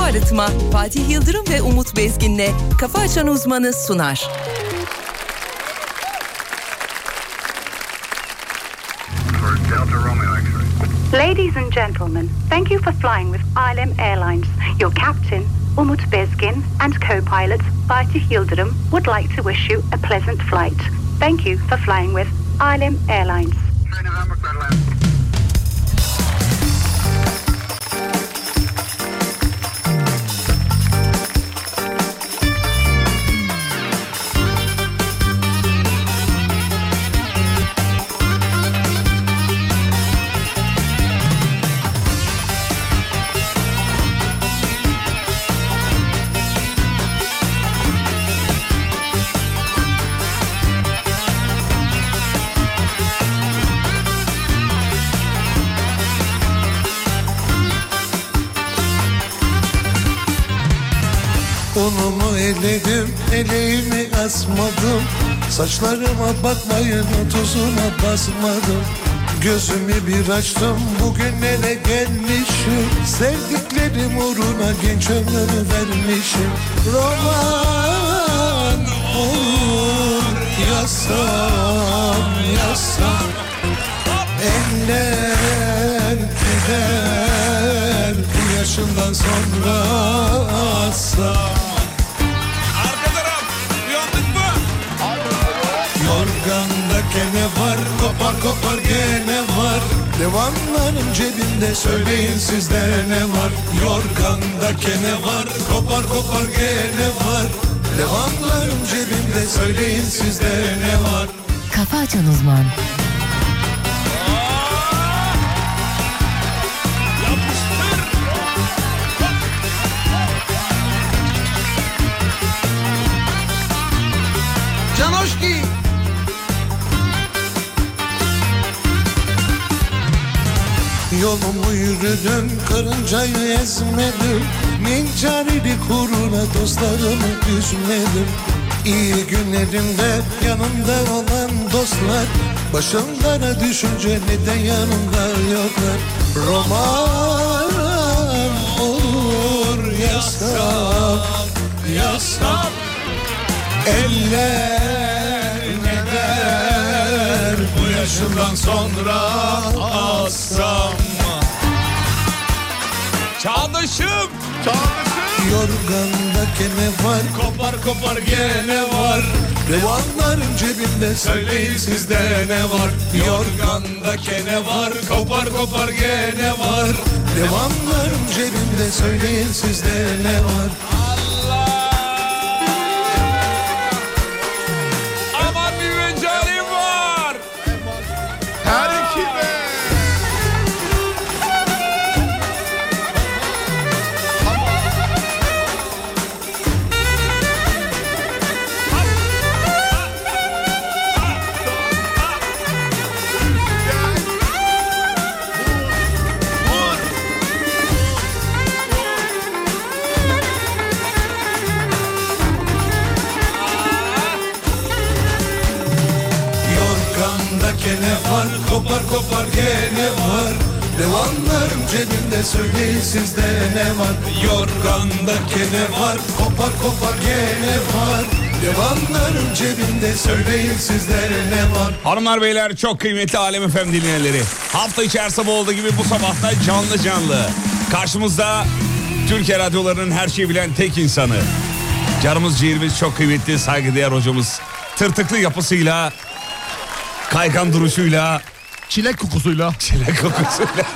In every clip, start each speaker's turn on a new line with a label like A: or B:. A: Arıtma Fatih Yıldırım ve Umut Bezgin'le Kafa Açan Uzmanı sunar.
B: Ladies and gentlemen, thank you for flying with ILM Airlines. Your captain, Umut Bezgin, and co-pilot Fatih Yıldırım would like to wish you a pleasant flight. Thank you for flying with ILM Airlines.
C: Unumu eledim, eleğimi asmadım Saçlarıma bakmayın, tuzuna basmadım Gözümü bir açtım, bugün ele gelmişim Sevdiklerim uğruna genç ömrümü vermişim Roman olur, yazsam, yazsam Eller gider bu yaşından sonra asla
D: Arkadaşlar uyandık mı?
C: Yorganda gene var kopar kopar gene var Devamlarım cebimde söyleyin sizde ne var Yorganda gene var kopar kopar gene var Devamlarım cebimde söyleyin sizde ne var
E: Kafa Açan Uzman.
F: Canoşki.
C: Yolumu yürüdüm, karıncayı ezmedim Mincarilik uğruna dostlarımı üzmedim İyi günlerimde yanımda olan dostlar Başımlara düşünce neden yanımda yoklar Roman olur yazsam, yazsam Eller neler bu yaşından sonra assam
D: Çağdaşım. Çağdaşım.
C: Yorganda gene var
D: Kopar kopar gene var.
C: Revanların cebinde
D: Söyleyin
C: söyleyin
D: sizde ne var? Yorganda kene var. Kopar kopar gene var.
C: Revanların cebinde söyleyin sizde ne var
D: Aman bir mecalim var. Her iki be.
C: Yorganda gene var Kopar kopar gene var Revanların cebinde söyleyin sizde ne var Yorganda gene var Kopar kopar gene var Revanların cebinde söyleyin sizde ne var
D: Hanımlar beyler çok kıymetli Alem Efem dinleyenleri. Hafta içi her sabah olduğu gibi bu sabah da canlı canlı. Karşımızda Türkiye radyolarının her şeyi bilen tek insanı. Canımız ciğerimiz çok kıymetli saygıdeğer hocamız. Tırtıklı yapısıyla, kaygan duruşuyla,
G: Çilek kokusuyla.
D: çilek kokusuyla,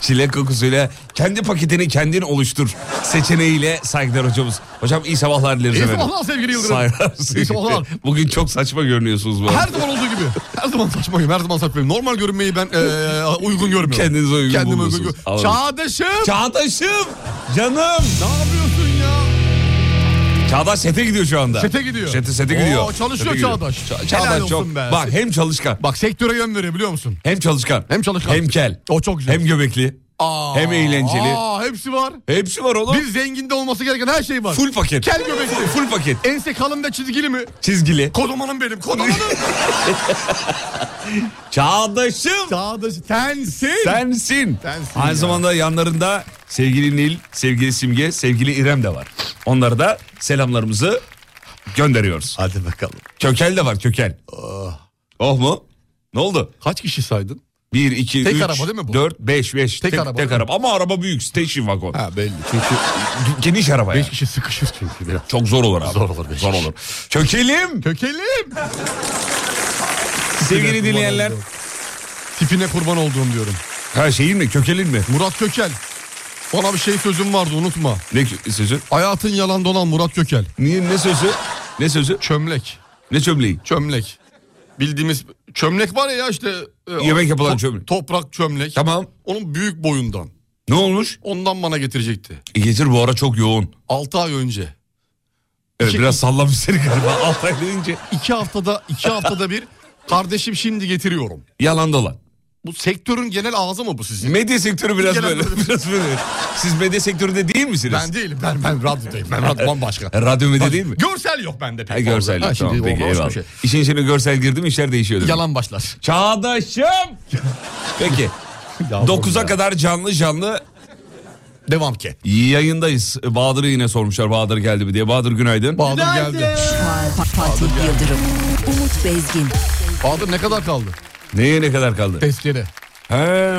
D: çilek kokusuyla kendi paketini kendin oluştur seçeneğiyle saygıdeğer hocamız. Hocam iyi sabahlar dileriz
G: İyi
D: efendim.
G: sabahlar sevgili Yıldırım.
D: Saygılar
G: İyi sabahlar.
D: Bugün çok saçma görünüyorsunuz bu arada.
G: Her zaman olduğu gibi. Her zaman saçmayım. Her zaman saçmayım. Normal görünmeyi ben eee, uygun görmüyorum.
D: Kendinize uygun
G: Kendime
D: bulmuyorsunuz.
G: uygun gör-
D: Anladım.
G: Çağdaşım.
D: Çağdaşım canım.
G: ne yapıyorsun ya?
D: Çağdaş sete gidiyor şu anda.
G: Sete gidiyor.
D: Sete, sete
G: Oo,
D: gidiyor.
G: çalışıyor
D: Sete gidiyor.
G: Çağdaş.
D: Ça-
G: Helal
D: Çağdaş
G: olsun
D: çok.
G: be.
D: Bak hem çalışkan.
G: Bak sektöre yön veriyor biliyor musun?
D: Hem çalışkan.
G: Hem çalışkan.
D: Hem kel.
G: O çok güzel.
D: Hem göbekli.
G: Aa,
D: hem eğlenceli.
G: Aa, hepsi var.
D: Hepsi var oğlum.
G: Bir zenginde olması gereken her şey var.
D: Full paket.
G: Kel göbekli.
D: Full, full paket.
G: Ense kalın da çizgili mi?
D: Çizgili.
G: Kodumanım benim. Kodumanım.
D: Çağdaşım.
G: Çağdaş sensin.
D: Sensin.
G: Sensin
D: Aynı
G: ya.
D: zamanda yanlarında Sevgili Nil, sevgili Simge, sevgili İrem de var. Onlara da selamlarımızı gönderiyoruz.
G: Hadi bakalım.
D: Kökel de var kökel. Oh mu? Ne oldu?
G: Kaç kişi saydın?
D: 1, 2,
G: Tek
D: 3,
G: araba değil mi bu?
D: 4, 5, 5.
G: Tek araba.
D: Tek araba. Ama araba büyük. Station wagon.
G: Ha belli. Çünkü
D: Geniş araba ya.
G: beş kişi sıkışır çünkü biraz.
D: Çok zor olur abi.
G: Zor olur beş
D: Zor
G: kişi.
D: olur. Kökelim.
G: Kökelim.
D: Sevgili dinleyenler.
G: Tipine kurban olduğum diyorum.
D: Ha şeyin mi? Kökelin mi?
G: Murat Kökel. Ona bir şey sözüm vardı unutma.
D: Ne kö- sözü?
G: Hayatın yalan dolan Murat Kökel.
D: Niye, ne sözü? Ne sözü?
G: Çömlek.
D: Ne çömleği?
G: Çömlek. Bildiğimiz çömlek var ya işte. e,
D: Yemek yapılan
G: to-
D: çömlek.
G: Toprak çömlek.
D: Tamam.
G: Onun büyük boyundan.
D: Ne olmuş?
G: Ondan bana getirecekti.
D: E, Getir bu ara çok yoğun.
G: 6 ay önce.
D: Evet,
G: İki-
D: biraz sallamış seni galiba. Altı ay deyince.
G: 2 haftada 2 haftada bir kardeşim şimdi getiriyorum.
D: Yalan dolan.
G: Bu sektörün genel ağzı mı bu sizin?
D: Medya sektörü biraz
G: Genel
D: böyle.
G: böyle.
D: biraz böyle. Siz medya sektöründe değil misiniz?
G: Ben değilim. Ben ben radyodayım. Ben radyo bambaşka.
D: E, Radyo medya değil mi?
G: Görsel yok bende pek.
D: Ha, görsel.
G: Ha,
D: tamam,
G: şimdi
D: peki
G: o başka
D: eyvallah.
G: bir şey.
D: İşin içine görsel girdi mi işler değişiyor. demek.
G: Yalan başlar.
D: Çağdaşım. Peki. 9'a kadar canlı canlı
G: Devam ki.
D: yayındayız. E, Bahadır'ı yine sormuşlar Bahadır geldi mi diye. Bahadır günaydın.
G: Bahadır geldi.
A: Fa- Fatih Yıldırım, Umut Bezgin,
G: Bahadır ne kadar kaldı?
D: Neye ne kadar kaldı?
G: Tezkere.
D: He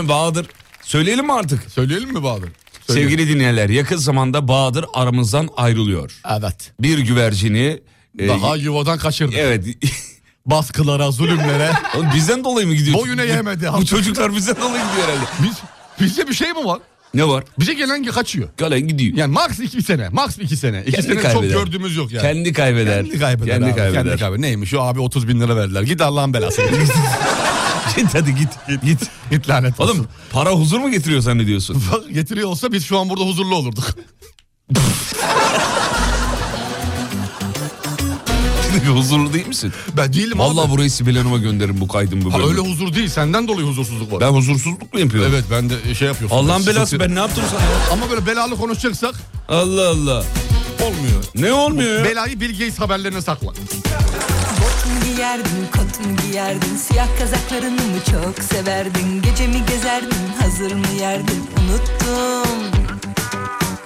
D: Bahadır. Söyleyelim mi artık?
G: Söyleyelim mi Bahadır? Söyleyelim.
D: Sevgili dinleyenler yakın zamanda Bahadır aramızdan ayrılıyor.
G: Evet.
D: Bir güvercini... e,
G: Daha yuvadan kaçırdı.
D: Evet.
G: Baskılara, zulümlere.
D: Oğlum bizden dolayı mı gidiyor?
G: Boyuna yemedi.
D: Bu çocuklar bizden dolayı gidiyor herhalde.
G: Biz, bizde bir şey mi var?
D: Ne var?
G: Bize gelen ki kaçıyor.
D: Galen gidiyor.
G: Yani max iki sene. Max iki sene. İki
D: Kendi
G: sene
D: kaybeder.
G: çok gördüğümüz yok yani.
D: Kendi kaybeder.
G: Kendi kaybeder.
D: Kendi
G: abi,
D: kaybeder.
G: Kendi kaybeder. Neymiş o abi 30 bin lira verdiler. Git Allah'ın belası.
D: Git hadi git. Git.
G: Git lanet olsun.
D: Oğlum para huzur mu getiriyor zannediyorsun?
G: Bak, getiriyor olsa biz şu an burada huzurlu olurduk.
D: Şimdi huzurlu değil misin?
G: Ben değilim
D: Vallahi
G: abi.
D: burayı Sibel Hanım'a gönderirim bu kaydın bu
G: Ha,
D: bölümü.
G: öyle huzur değil. Senden dolayı huzursuzluk var.
D: Ben huzursuzluk mu yapıyorum?
G: Evet ben de şey yapıyorsun.
D: Allah'ın
G: Sıkıntı-
D: belası ben ne yaptım sana ya?
G: Ama böyle belalı konuşacaksak
D: Allah Allah.
G: olmuyor.
D: Ne olmuyor ya?
G: Belayı Bill Gates haberlerine sakla.
E: Bot mu giyerdin, kot mu giyerdin Siyah kazaklarını mı çok severdin Gece mi gezerdin, hazır mı yerdin Unuttum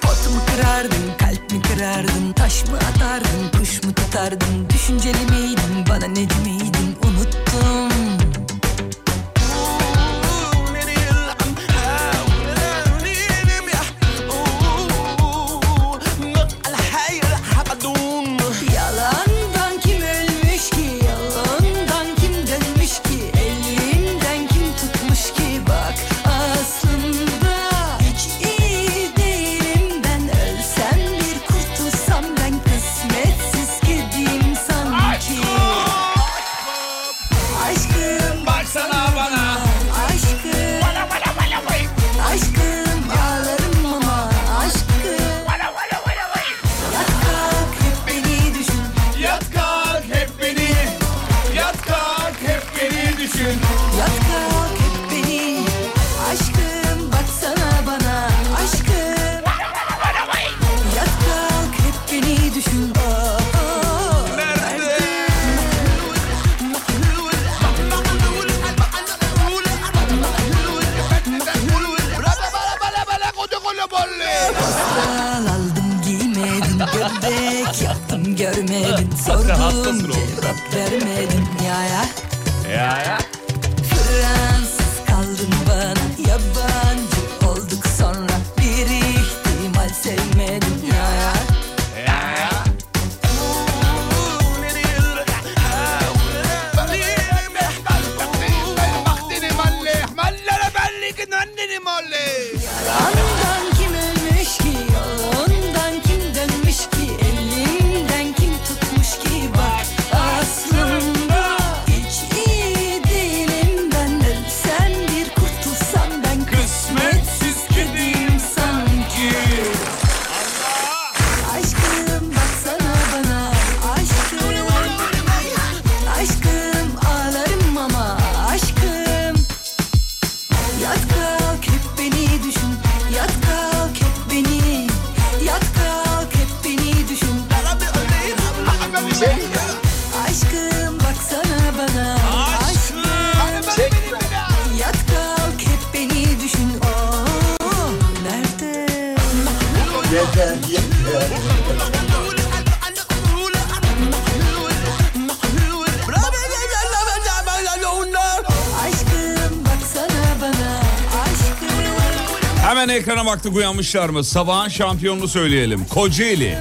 E: Pot mu kırardın, kalp mi kırardın Taş mı atardın, kuş mu tutardın Düşünceli miydin, bana neci miydin Unuttum Yalandan kim ölmüş ki yalandan kim dönmüş ki elinden kim tutmuş ki bak aslında hiç iyi değilim ben ölsem bir kurtulsam ben kısmetsiz kediyim sanki aşkım baksana bana aşkım aşkım ağlarım ama aşkım Yat kalk hep beni düşün Yat kalk hep beni Aşkım baksana bana Aşkım Yat kalk hep beni düşün Oh, oh, oh. Al aldım giymedim Göbek yaptım görmedin
D: Hastasın
E: Sordum
D: oğlum.
E: cevap vermedin Ya ya
D: Ya ya.
E: Fransız kaldın bana Yabancı olduk sonra Bir ihtimal sevmedim Ya ya Yalandan kim ölmüş ki Yalandan kim dönmüş ki Elinden kim tutmuş ki Bak aslında hiç iyi değil
F: yeter yeter.
E: Aşkım baksana bana Aşkım
D: Hemen ekrana baktık uyanmışlar mı? Sabahın şampiyonunu söyleyelim. Kocaeli.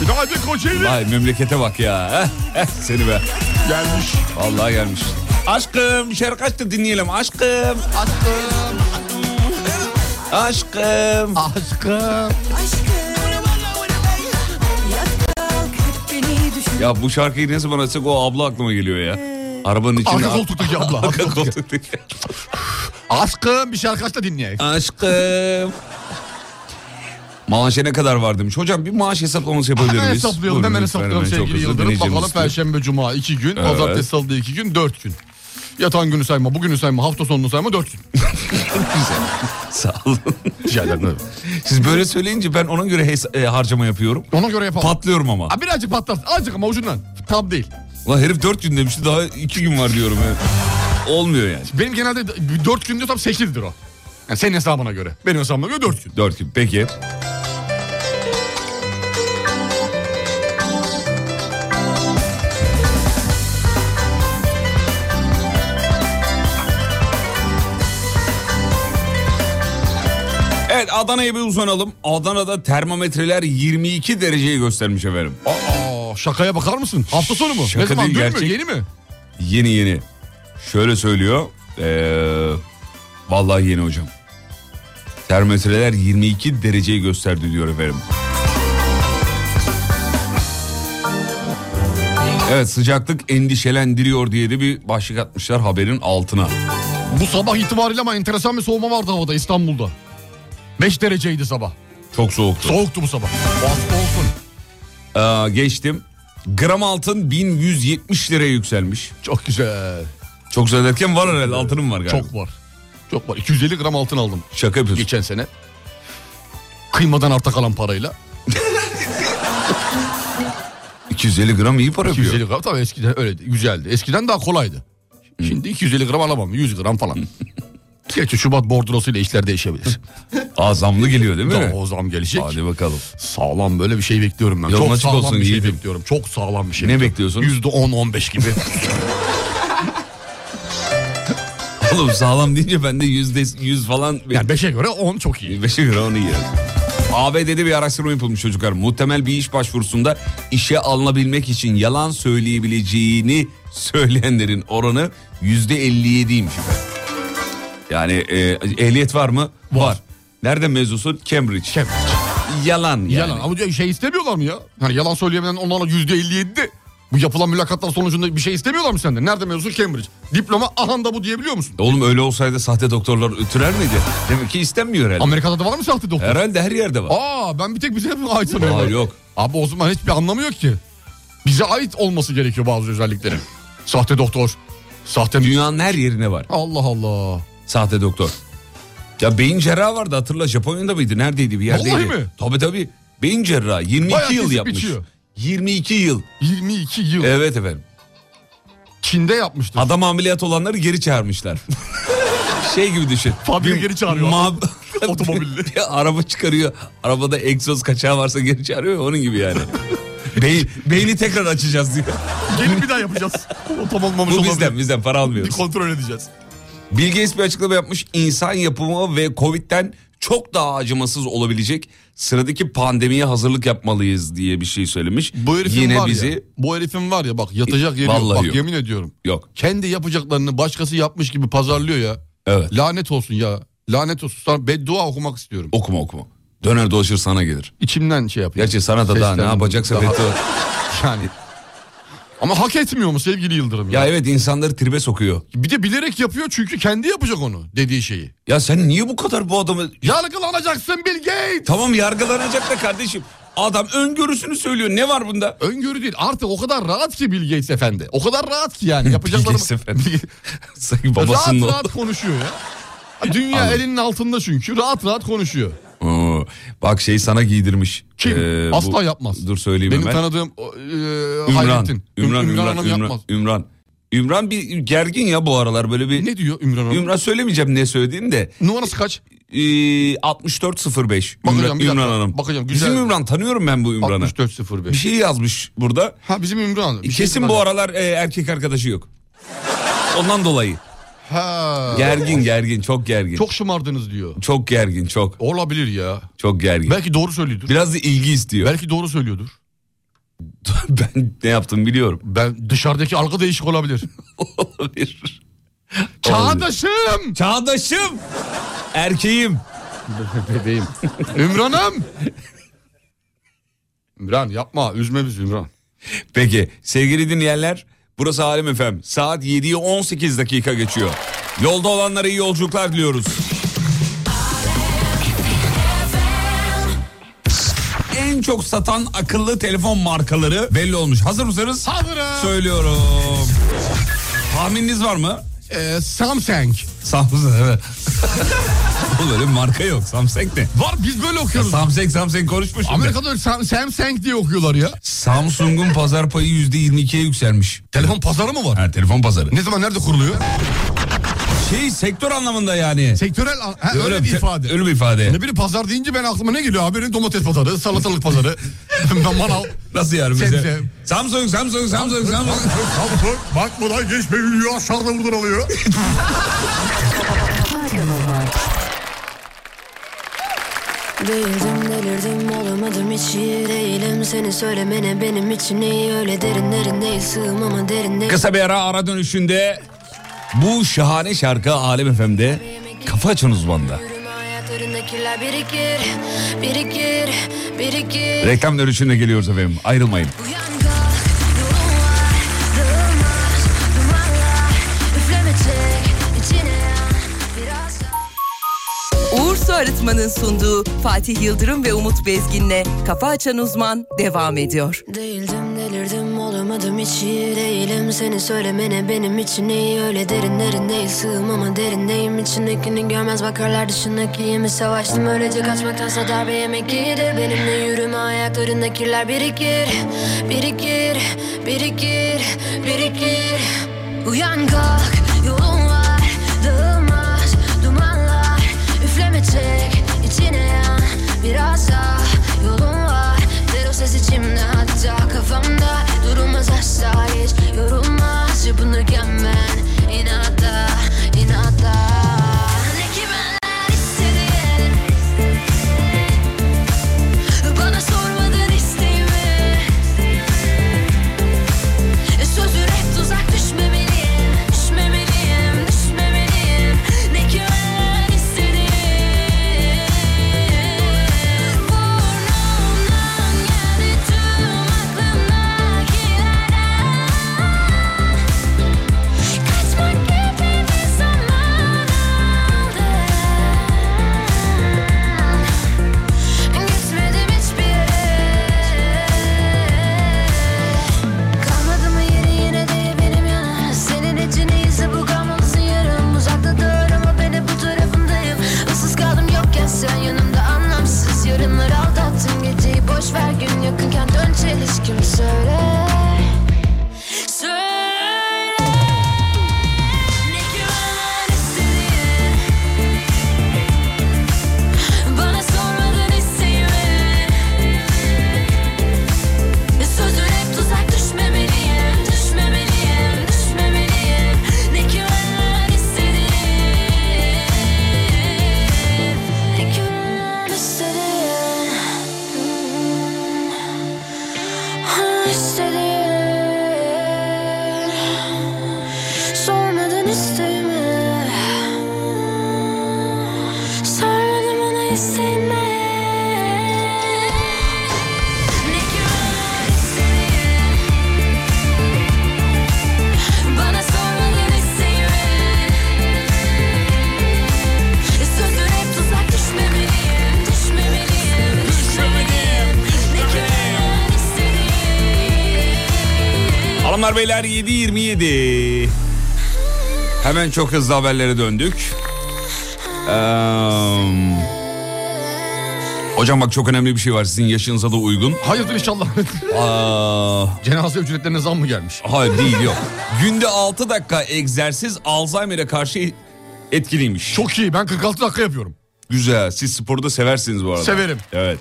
G: Günaydın Kocaeli.
D: Vay memlekete bak ya. Seni be.
G: Gelmiş.
D: Vallahi gelmiş. Aşkım şarkı aç da dinleyelim. Aşkım. Aşkım.
G: Aşkım.
D: Aşkım.
E: Aşkım Yat kalk hep beni düşün
D: Ya bu şarkıyı ne zaman açsak o abla aklıma geliyor ya. Arabanın içinde.
G: Arka koltuktaki abla.
D: Arka koltuktaki.
G: Aşkım bir şarkı aç da dinleyek.
D: Aşkım. Maaşa ne kadar var demiş. Hocam bir maaş hesaplaması yapabilir
G: Hemen
D: miyiz?
G: hesaplayalım
D: Buyurun
G: hemen
D: lütfen,
G: hesaplayalım
D: çok
G: sevgili
D: hızlı
G: Yıldırım.
D: dinleyeceğimiz
G: Bakalım
D: istiyor.
G: Perşembe, Cuma iki gün. Pazartesi, Salı iki gün. Dört gün. Yatan günü sayma, bugünü sayma, hafta sonunu sayma dört gün.
D: Sağ olun.
G: Rica ederim. evet.
D: Siz böyle söyleyince ben ona göre hesa- e, harcama yapıyorum.
G: Ona göre yapalım.
D: Patlıyorum ama.
G: Ha, birazcık patlarsın. Azıcık ama ucundan. Tam değil.
D: Ulan herif 4 gün demişti daha 2 gün var diyorum. ya. Olmuyor yani.
G: Benim genelde d- dört gün diyorsam sekizidir o. Yani senin hesabına göre. Benim hesabıma göre dört gün.
D: 4 gün peki. Evet Adana'ya bir uzanalım. Adana'da termometreler 22 dereceyi göstermiş efendim.
G: Aa, şakaya bakar mısın? Hafta sonu mu?
D: Şaka
G: ne zaman?
D: değil,
G: Dün
D: gerçek.
G: mü? Yeni mi?
D: Yeni yeni. Şöyle söylüyor. Ee, vallahi yeni hocam. Termometreler 22 dereceyi gösterdi diyor efendim. Evet sıcaklık endişelendiriyor diye de bir başlık atmışlar haberin altına.
G: Bu sabah itibariyle ama enteresan bir soğuma vardı havada İstanbul'da. 5 dereceydi sabah.
D: Çok soğuktu.
G: Soğuktu bu sabah. O hafta olsun.
D: Ee, geçtim. Gram altın 1170 liraya yükselmiş.
G: Çok güzel.
D: Çok güzel derken var herhalde altınım var galiba.
G: Çok var. Çok var. 250 gram altın aldım
D: Şaka yapıyorsun.
G: geçen sene. Kıymadan arta kalan parayla.
D: 250 gram iyi para yapıyor.
G: 250 gram tabii eskiden öyleydi. Güzeldi. Eskiden daha kolaydı. Şimdi 250 gram alamam. 100 gram falan. Gerçi Şubat bordrosuyla işler değişebilir.
D: Aa zamlı geliyor değil mi?
G: Daha o zam gelecek.
D: Hadi bakalım.
G: Sağlam böyle bir şey bekliyorum ben.
D: Yolun
G: Çok
D: açık
G: sağlam
D: olsun
G: bir şey
D: yiğidim.
G: bekliyorum. Çok sağlam bir şey.
D: Ne bekliyorsun?
G: %10-15 gibi.
D: Oğlum sağlam deyince ben de yüzde yüz falan...
G: yani 5'e göre 10 çok iyi.
D: Beşe göre onu yiyorum. ABD'de bir araştırma yapılmış çocuklar. Muhtemel bir iş başvurusunda işe alınabilmek için yalan söyleyebileceğini söyleyenlerin oranı yüzde 57'ymiş. efendim. Yani e, ehliyet var mı? Var. Nerede mezunsun? Cambridge.
G: Cambridge.
D: Yalan yani.
G: Yalan ama diyor, şey istemiyorlar mı ya? Hani yalan söyleyemeyen onlarla yüzde %57'di. Bu yapılan mülakatlar sonucunda bir şey istemiyorlar mı senden? Nerede mevzu? Cambridge. Diploma ahanda bu diyebiliyor musun?
D: Oğlum öyle olsaydı sahte doktorlar ötürer miydi? Demek ki istenmiyor herhalde.
G: Amerika'da da var mı sahte doktor?
D: herhalde her yerde var.
G: Aa ben bir tek bize mi ait sanıyorum.
D: Aa, yok.
G: Abi o zaman hiçbir anlamı yok ki. Bize ait olması gerekiyor bazı özelliklerin. Sahte doktor. Sahte...
D: Dünyanın her yerine var.
G: Allah Allah.
D: Sahte doktor. Ya beyin cerrahı vardı hatırla Japonya'da mıydı? Neredeydi bir yerdeydi?
G: Vallahi mi?
D: Tabii tabii. Beyin cerrahı 22
G: Bayağı
D: yıl
G: kesip
D: yapmış.
G: biçiyor.
D: 22 yıl.
G: 22 yıl
D: Evet efendim.
G: Çin'de yapmıştır.
D: Adam ameliyat olanları geri çağırmışlar. şey gibi düşün.
G: Fabrika
D: Bir
G: geri çağırıyor.
D: mab-
G: Otomobille.
D: Bir araba çıkarıyor. Arabada egzoz kaçağı varsa geri çağırıyor ya, onun gibi yani. Beyin, beyni tekrar açacağız diyor.
G: Gelin bir daha yapacağız. O tam olmamış
D: Bu
G: olabilir.
D: bizden bizden para
G: Bir
D: almıyoruz.
G: kontrol edeceğiz.
D: Bill Gates bir açıklama yapmış. İnsan yapımı ve Covid'den çok daha acımasız olabilecek sıradaki pandemiye hazırlık yapmalıyız diye bir şey söylemiş.
G: Bu herifin
D: Yine
G: var
D: bizi
G: ya. Bu herifin var ya bak yatacak yeri yok.
D: Vallahi
G: Bak
D: yok.
G: yemin ediyorum.
D: yok.
G: Kendi yapacaklarını başkası yapmış gibi pazarlıyor ya.
D: Evet.
G: Lanet olsun ya. Lanet olsun. Sana beddua okumak istiyorum.
D: Okuma okuma. Döner dolaşır sana gelir.
G: İçimden şey yapıyor.
D: Gerçi sana da daha ne
G: Seslendim.
D: yapacaksa
G: Daha-
D: Fethi-
G: Yani. Ama hak etmiyor mu sevgili Yıldırım? Ya?
D: Ya evet insanları tribe sokuyor.
G: Bir de bilerek yapıyor çünkü kendi yapacak onu dediği şeyi.
D: Ya sen niye bu kadar bu adamı...
G: Yargılanacaksın Bill Gates.
D: Tamam yargılanacak da kardeşim. Adam öngörüsünü söylüyor. Ne var bunda?
G: Öngörü değil artık o kadar rahat ki Bill Gates efendi. O kadar rahat ki yani yapacaklarını...
D: Bilgeys efendi. Sanki babasının
G: rahat
D: oğlu.
G: rahat konuşuyor ya. Dünya elinin altında çünkü rahat rahat konuşuyor.
D: Oo, Bak şey sana giydirmiş.
G: Kim?
D: Ee, bu-
G: Asla yapmaz.
D: Dur söyleyeyim
G: Benim
D: hemen.
G: tanıdığım o, e,
D: Ümran.
G: Hayrettin. Üm-
D: Ümran, Ümran,
G: Hanım
D: Ümran,
G: yapmaz.
D: Ümran. Ümran bir gergin ya bu aralar böyle bir...
G: Ne diyor Ümran Hanım?
D: Ümran söylemeyeceğim ne söylediğini de.
G: Numarası kaç?
D: e, 6405.
G: Bakacağım,
D: Ümran,
G: bir dakika.
D: Ümran Hanım.
G: Bakacağım,
D: Bizim
G: güzel.
D: Ümran tanıyorum ben bu Ümran'ı.
G: 6405.
D: Bir şey yazmış burada.
G: Ha bizim Ümran. Bir şey
D: Kesin bu
G: var.
D: aralar e, erkek arkadaşı yok. Ondan dolayı.
G: Ha.
D: Gergin gergin çok gergin. Çok,
G: Çok şımardınız diyor.
D: gergin çok.
G: Olabilir ya.
D: Çok gergin.
G: Belki doğru söylüyordur.
D: Biraz da ilgi istiyor.
G: Belki doğru söylüyordur.
D: ben ne yaptım biliyorum.
G: Ben dışarıdaki algı değişik olabilir.
D: Olabilir.
G: Çağdaşım.
D: Çağdaşım. Erkeğim.
G: Bebeğim. Ümran'ım. Ümran yapma üzme bizi Ümran.
D: Peki sevgili dinleyenler burası Alem FM. Saat 7'yi 18 dakika geçiyor. Yolda olanlara iyi yolculuklar diliyoruz. En çok satan akıllı telefon markaları belli olmuş. Hazır mısınız?
G: Hazırım.
D: Söylüyorum. Tahmininiz var mı?
G: Ee, Samsung.
D: E, Samsung evet. Oğlum öyle bir marka yok. Samsung ne?
G: Var biz böyle okuyoruz.
D: Samsung Samsung konuşmuş. şimdi.
G: Amerika'da öyle Sam- Samsung diye okuyorlar ya.
D: Samsung'un pazar payı %22'ye yükselmiş.
G: Telefon pazarı mı var?
D: Ha, telefon pazarı.
G: Ne zaman nerede kuruluyor?
D: Şey sektör anlamında yani.
G: Sektörel ha, öyle bir ifade.
D: Öyle bir ifade.
G: Ne bileyim pazar deyince ben aklıma ne geliyor abi? Domates pazarı, salatalık pazarı, manav.
D: Nasıl yani bize?
G: Sebze.
D: Samsung, Samsung, Samsung, Samsung.
G: Samsung bakmadan geçmeyi aşağıda buradan alıyor.
F: Delirdim delirdim olamadım hiç iyi değilim Seni söylemene benim için iyi öyle derin derin değil sığmama derin değil
D: Kısa bir ara ara dönüşünde bu şahane şarkı Alem FM'de Kafa Açan Uzman'da.
F: Yürüme hayatlarında kirler birikir birikir birikir
D: Reklam dönüşünde geliyoruz efendim. Ayrılmayın.
F: Uyan kalk yolun var dağılmaz dumanlar Üfleme çek içine al, biraz daha-
A: Uğur Su Arıtma'nın sunduğu Fatih Yıldırım ve Umut Bezgin'le Kafa Açan Uzman devam ediyor.
F: Değildim delirdim olamadım hiç iyi değilim Seni söylemene benim için iyi öyle derin derin değil Sığmama derindeyim içindekini görmez bakarlar dışındaki mi Savaştım öylece kaçmaktansa darbe yemek iyidir Benimle yürüme ayaklarında kirler birikir Birikir, birikir, birikir Uyan kalk yolun var dağılmaz dumanlar Üfleme çek içine yan biraz daha yolun var Ver o ses içimde hatta kafamda Durulmaz asla hiç yorulmaz Çırpınırken ben inatla inatla Ne ki benler istediğin Bana sormadan isteğimi E, Sözü hep tuzak düşmemeliyim Düşmemeliyim, düşmemeliyim Ne ki ben istedim Burnumdan geldi tüm aklımdakilerden Kaçmak gibi bir zaman aldım Gitmedim hiçbir yere Kalmadı mı yeri yine de benim yana Senin için iyisi bu kalmalısın yarım Uzakta dur ama ben hep bu tarafındayım Issız kaldım yokken sen yanımda anlamsız Yarınlar aldattın geceyi boş ver gün yakınken dön çelişkim Söyle Söyle Ne güven istediğin bana sormadan isteyimi Sözü hep tuzak düşmemeliyim Düşmemeliyim, düşmemeliyim Ne ki ben istedim Ne ki ben istedim Hmm, İstedim Sormadan isteyimi Sormadım ona isteme Ne güven istediğin Bana sormadan isteyimi Sözü hep tuzak düşmemeliyim Düşmemeliyim, düşmemeliyim Ne güven istediğin
D: Hanımlar beyler 7.27. Hemen çok hızlı haberlere döndük. Eee, hocam bak çok önemli bir şey var sizin yaşınıza da uygun.
G: Hayırdır inşallah.
D: Aa,
G: Cenaze ücretlerine zam mı gelmiş?
D: hayır değil yok. Günde 6 dakika egzersiz Alzheimer'e karşı etkiliymiş.
G: Çok iyi ben 46 dakika yapıyorum.
D: Güzel. Siz sporu da seversiniz bu arada.
G: Severim.
D: Evet.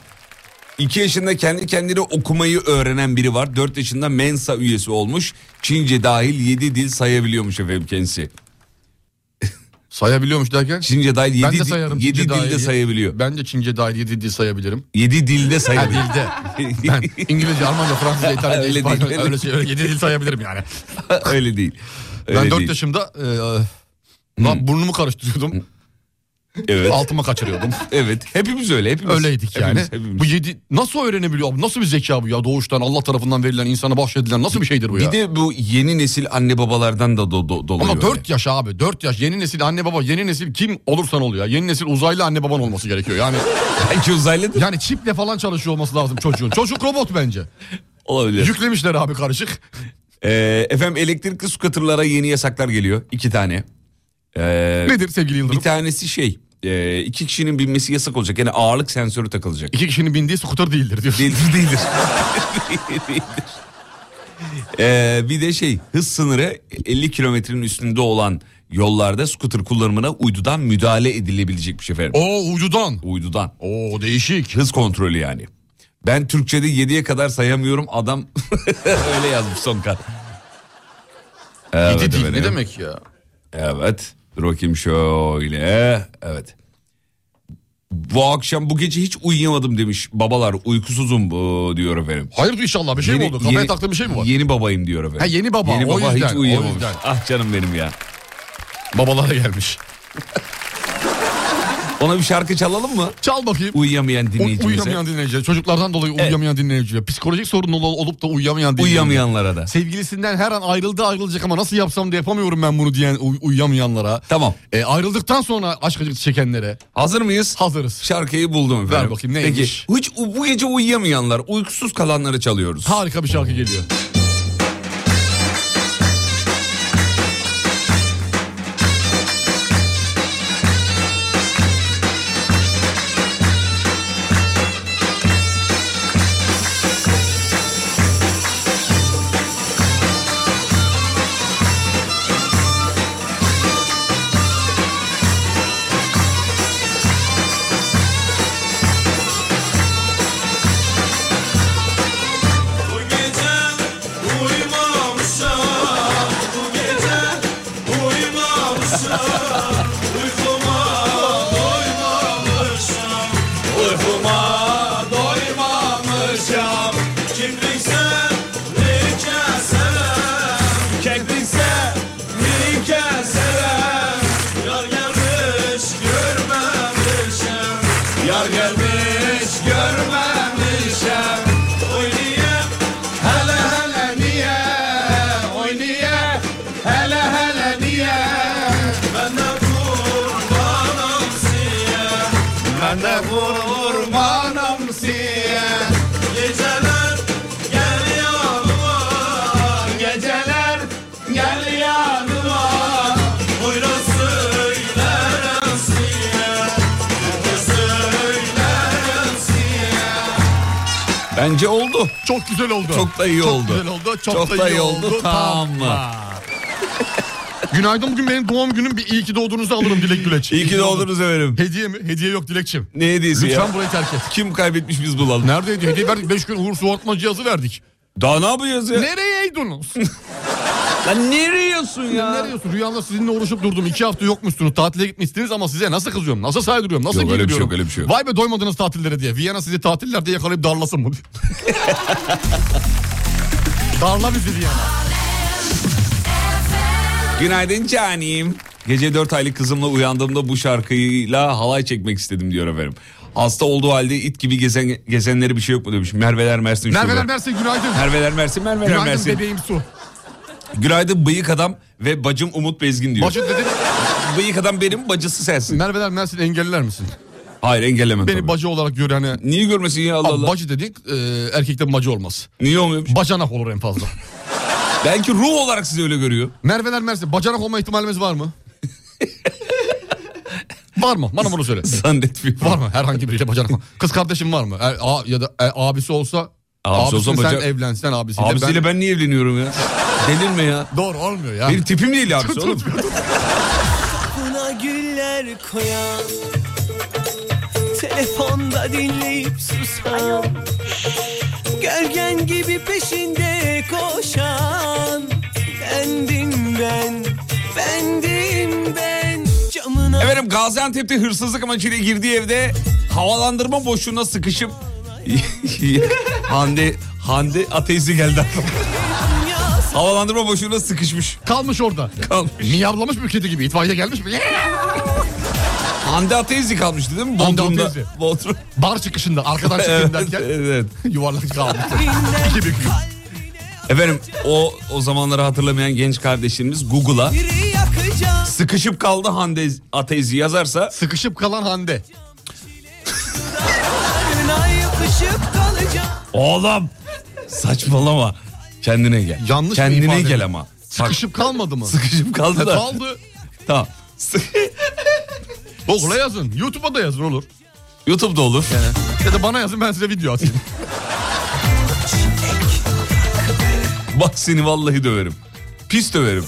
D: 2 yaşında kendi kendine okumayı öğrenen biri var. 4 yaşında Mensa üyesi olmuş. Çince dahil 7 dil sayabiliyormuş efendim kendisi.
G: Sayabiliyormuş derken?
D: Çince dahil 7,
G: ben de sayarım. Çince
D: dilde
G: dahil.
D: sayabiliyor.
G: Ben de Çince dahil 7 dil sayabilirim.
D: 7 dilde sayabiliyor.
G: Dilde. Ben İngilizce, Almanca, Fransızca, İtalyanca,
D: Öyle değil,
G: İspanyolca
D: öyle
G: öyle, şey, öyle 7 dil sayabilirim yani.
D: Öyle değil. Öyle
G: Ben 4
D: değil.
G: yaşımda e, e, lan burnumu karıştırıyordum.
D: Hmm. Evet.
G: Altıma kaçırıyordum.
D: Evet. Hepimiz öyle. Hepimiz.
G: Öyleydik yani.
D: Hepimiz, hepimiz.
G: Bu yedi nasıl öğrenebiliyor abi? Nasıl bir zeka bu ya? Doğuştan Allah tarafından verilen insana bahşedilen nasıl bir şeydir bu ya?
D: Bir de bu yeni nesil anne babalardan da do, do, dolayı.
G: Ama
D: öyle.
G: 4 yaş abi 4 yaş yeni nesil anne baba yeni nesil kim olursan ol ya. Yeni nesil uzaylı anne baban olması gerekiyor. Yani
D: Belki uzaylıdır.
G: yani çiple falan çalışıyor olması lazım çocuğun. Çocuk robot bence.
D: Olabilir.
G: Yüklemişler abi karışık.
D: Ee, efendim elektrikli scooterlara yeni yasaklar geliyor. iki tane. Ee,
G: Nedir sevgili
D: bir
G: Yıldırım?
D: tanesi şey. e, iki kişinin binmesi yasak olacak. Yani ağırlık sensörü takılacak.
G: İki kişinin bindiği skuter değildir diyorsun.
D: Değildir değildir. Değildir. Ee, bir de şey hız sınırı 50 kilometrenin üstünde olan yollarda scooter kullanımına uydudan müdahale edilebilecekmiş efendim.
G: Oo uydudan.
D: Uydudan.
G: Oo değişik.
D: Hız kontrolü yani. Ben Türkçe'de 7'ye kadar sayamıyorum adam öyle yazmış son kat. Evet,
G: Yedi dil
D: efendim.
G: ne demek ya?
D: Evet. Dur bakayım şöyle. Evet. Bu akşam bu gece hiç uyuyamadım demiş. Babalar uykusuzum bu diyor efendim.
G: Hayır inşallah bir şey mi oldu? Kafaya taktığın bir şey mi var?
D: Yeni babayım diyor efendim.
G: Ha, yeni baba,
D: Yeni
G: o
D: baba
G: yüzden,
D: hiç
G: o
D: uyuyamamış.
G: yüzden.
D: Ah canım benim ya.
G: Babalara gelmiş.
D: Ona bir şarkı çalalım mı?
G: Çal bakayım.
D: Uyuyamayan
G: U-
D: dinleyicimize.
G: uyuyamayan dinleyiciler. Çocuklardan dolayı uyuyamayan dinleyiciler. Psikolojik sorun ol- olup da uyuyamayan dinleyiciler.
D: Uyuyamayanlara da.
G: Sevgilisinden her an ayrıldı ayrılacak ama nasıl yapsam da yapamıyorum ben bunu diyen uy- uyuyamayanlara.
D: Tamam.
G: E, ayrıldıktan sonra aşk acısı çekenlere
D: Hazır mıyız?
G: hazırız.
D: Şarkıyı buldum efendim.
G: Ver bakayım neymiş?
D: Peki, hiç u- bu gece uyuyamayanlar, uykusuz kalanları çalıyoruz.
G: Harika bir şarkı geliyor.
H: Bu gece uyumamışım Bu gece uyumamışım Uykuma doymamışım Uykuma doymamışım Kimlikse bir keserem Keklikse bir keserem Yar gelmiş görmemişim Yar gelmiş görmemişim Oy niye hele hele niye Oy niye hele hele niye Ben de kurbanım siye Ben de kurbanım siye Geceler gel yanıma Geceler gel yanıma Buyurun söylerim siye Buyurun söylerim siye
D: Bence oldu.
G: Çok güzel oldu.
D: Çok da iyi oldu.
G: güzel oldu. Çok, da, iyi oldu.
D: Tamam mı?
G: Günaydın bugün benim doğum günüm. Bir iyi ki doğduğunuzu alırım Dilek Güleç.
D: İyi ki doğdunuz efendim.
G: Hediye mi? Hediye yok Dilekçim.
D: Ne hediyesi
G: Lütfen
D: ya?
G: burayı terk et.
D: Kim kaybetmiş biz bulalım.
G: Neredeydi? Hediye verdik. 5 gün Uğur Suartma cihazı verdik.
D: Daha ne yapacağız ya?
G: Nereye eydunuz?
D: Lan ne riyorsun ya?
G: Ne diyorsun? Rüyamda sizinle uğraşıp durdum. İki hafta yokmuşsunuz. Tatile gitmişsiniz ama size nasıl kızıyorum? Nasıl saydırıyorum? Nasıl
D: Yok, öyle bir şey
G: giydiriyorum?
D: yok, öyle bir şey yok.
G: Vay be doymadınız tatillere diye. Viyana sizi tatillerde yakalayıp darlasın mı? Darla bizi Viyana.
D: Günaydın canim. Gece 4 aylık kızımla uyandığımda bu şarkıyla halay çekmek istedim diyor efendim. Hasta olduğu halde it gibi gezen, gezenleri bir şey yok mu demiş. Merveler Mersin. şube.
G: Merveler Mersin günaydın.
D: Merveler Mersin. Merveler
G: Günaydın
D: Mersin.
G: bebeğim su.
D: Günaydın bıyık adam ve bacım Umut Bezgin diyor.
G: Bacı dedi.
D: Bıyık adam benim bacısı sensin.
G: Merveler Mersin engeller misin?
D: Hayır engellemem
G: Beni
D: tabii.
G: bacı olarak gör hani.
D: Niye görmesin ya Allah
G: Abi
D: Allah.
G: bacı dedik e, erkekte bacı olmaz.
D: Niye olmuyor?
G: Bacanak olur en fazla.
D: Belki ruh olarak sizi öyle görüyor.
G: Merveler Mersin bacanak olma ihtimalimiz var mı? var mı? Bana bunu söyle.
D: Zannetmiyorum.
G: Var mı herhangi biriyle bacanak? Kız kardeşim var mı? E, a, ya da e, abisi olsa abisi
D: Abisi olsa
G: sen
D: baca-
G: evlensen abisiyle.
D: Abisiyle ben... niye evleniyorum ya? Delirme ya.
G: Doğru olmuyor ya.
D: Benim tipim değil abisi oğlum.
I: Buna güller koyan Telefonda dinleyip susan Gölgen gibi peşinde koşan Bendim ben Bendim ben Camına
D: Efendim Gaziantep'te hırsızlık amacıyla girdiği evde havalandırma boşluğuna sıkışıp Hande Hande ateizmi geldi aklıma. Havalandırma boşluğuna sıkışmış.
G: Kalmış orada.
D: Kalmış.
G: Miyavlamış mı kedi gibi? İtfaiye gelmiş mi?
D: Hande ateizmi kalmıştı değil mi?
G: Hande
D: Bodrum'da.
G: Ateizli.
D: Bodrum.
G: Bar çıkışında arkadan çıkayım
D: evet,
G: derken
D: evet.
G: yuvarlanıp kalmış. İki büklüm.
D: Efendim o o zamanları hatırlamayan genç kardeşimiz Google'a
I: biri yakacağım
D: sıkışıp kaldı Hande ateizmi yazarsa
G: Sıkışıp kalan Hande.
I: Yarına yapışıp kalacağım
D: oğlum saçmalama kendine gel.
G: Yanlış mı ifade
D: Kendine
G: mi?
D: gel ama. Bak,
G: Sıkışıp kalmadı mı?
D: sıkışıp kaldı da.
G: Kaldı.
D: Tamam. Sık-
G: Google'a yazın. YouTube'a da yazın olur.
D: YouTube'da olur.
G: Ya da bana yazın ben size video atayım.
D: Bak seni vallahi döverim. Pis döverim.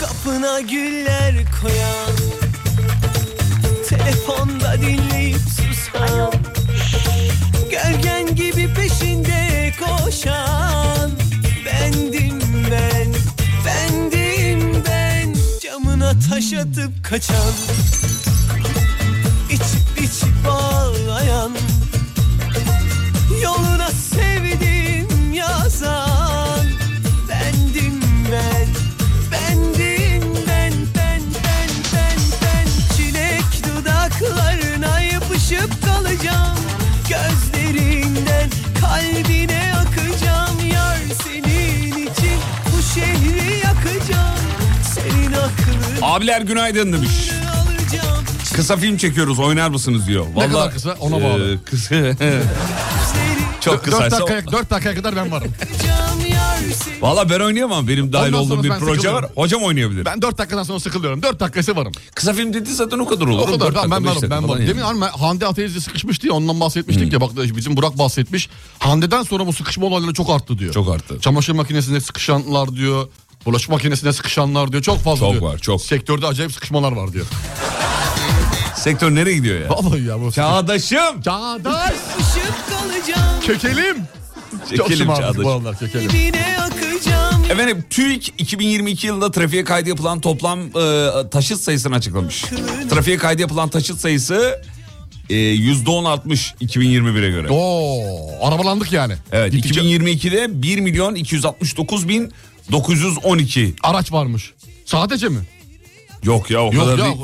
I: Kapına güller koyan Telefonda dinleyip susan Gölgen gibi peşinde koşan Bendim ben, bendim ben Camına taş atıp kaçan İçip içip ağlayan Yoluna sevdim yazan Bendim ben Bendim ben ben ben ben ben Çilek dudaklarına yapışıp kalacağım Gözlerinden kalbine akacağım Yar senin için bu şehri yakacağım Senin aklını
D: Abiler günaydın demiş.
I: alacağım
D: Kısa film çekiyoruz oynar mısınız diyor. Vallahi,
G: kadar kısa? Ona bağlı.
D: Ee, kısa. Çok
G: Dört
D: kısaysa.
G: dakikaya, dört dakikaya kadar ben varım.
I: Gözlerim yar senin
D: Valla ben oynayamam. Benim dahil
G: Ondan sonra
D: olduğum bir
G: ben
D: proje var.
G: sıkılıyorum.
D: Hocam oynayabilir.
G: Ben dört dakikadan sonra sıkılıyorum. Dört dakikası varım.
D: Kısa film dedi zaten o kadar olur.
G: O kadar
D: Dört
G: ben, ben
D: dakika, beş
G: varım
D: dakika
G: ben
D: falan
G: varım.
D: yani. Hmm.
G: Demin hanım Hande ateizle sıkışmıştı ya ondan bahsetmiştik ya bak bizim Burak bahsetmiş. Hande'den sonra bu sıkışma olayları çok arttı diyor.
D: Çok arttı.
G: Çamaşır makinesinde sıkışanlar diyor. Bulaşık makinesinde sıkışanlar diyor. Çok fazla
D: Çok
G: diyor.
D: var, çok.
G: Sektörde acayip sıkışmalar var diyor.
D: Sektör nereye gidiyor ya?
G: Vallahi ya bu.
D: Çağdaşım.
G: Çağdaş
I: Işık kalacağım
G: kökelim. Çok
D: Çekelim
G: şımardık bu
D: Çağdaş'ım.
G: aralar kökelim.
I: Dibine akacağım
D: Efendim TÜİK 2022 yılında trafiğe kaydı yapılan toplam e, taşıt sayısını açıklamış. Trafiğe kaydı yapılan taşıt sayısı e, %10 artmış 2021'e göre.
G: Oo, arabalandık yani.
D: Evet
G: Gittikçe
D: 2022'de 1 milyon 269 bin 912.
G: araç varmış. Sadece mi?
D: Yok ya o
G: Yok
D: kadar
G: ya
D: değil.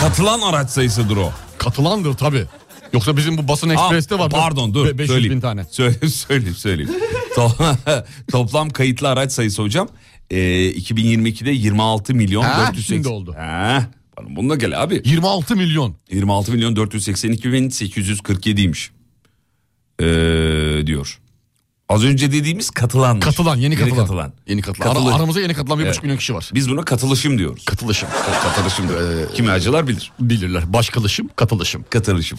D: Katılan araç sayısıdır o.
G: katılandır tabii. Yoksa bizim bu basın
D: Aa,
G: ekspreste var.
D: pardon dur
G: Be- 500
D: söyleyeyim.
G: bin tane.
D: Söyle, söyleyeyim söyleyeyim. To- Toplam kayıtlı araç sayısı hocam e, 2022'de 26 milyon
G: Ha,
D: 480.
G: şimdi oldu.
D: Ha, bana bununla gel abi.
G: 26 milyon.
D: 26 milyon 482 bin 847'ymiş. Ee, diyor. Az önce dediğimiz katılan.
G: Katılan, yeni katılan.
D: Yeni katılan.
G: Yeni katılan. Ara-
D: Katılı-
G: aramıza yeni katılan bir
D: Evet.
G: buçuk milyon kişi var.
D: Biz buna katılışım diyoruz.
G: Katılışım. Ee,
D: Katılışım diyor. Kimyacılar bilir.
G: Bilirler. Başkalışım, katılışım.
D: Katılışım.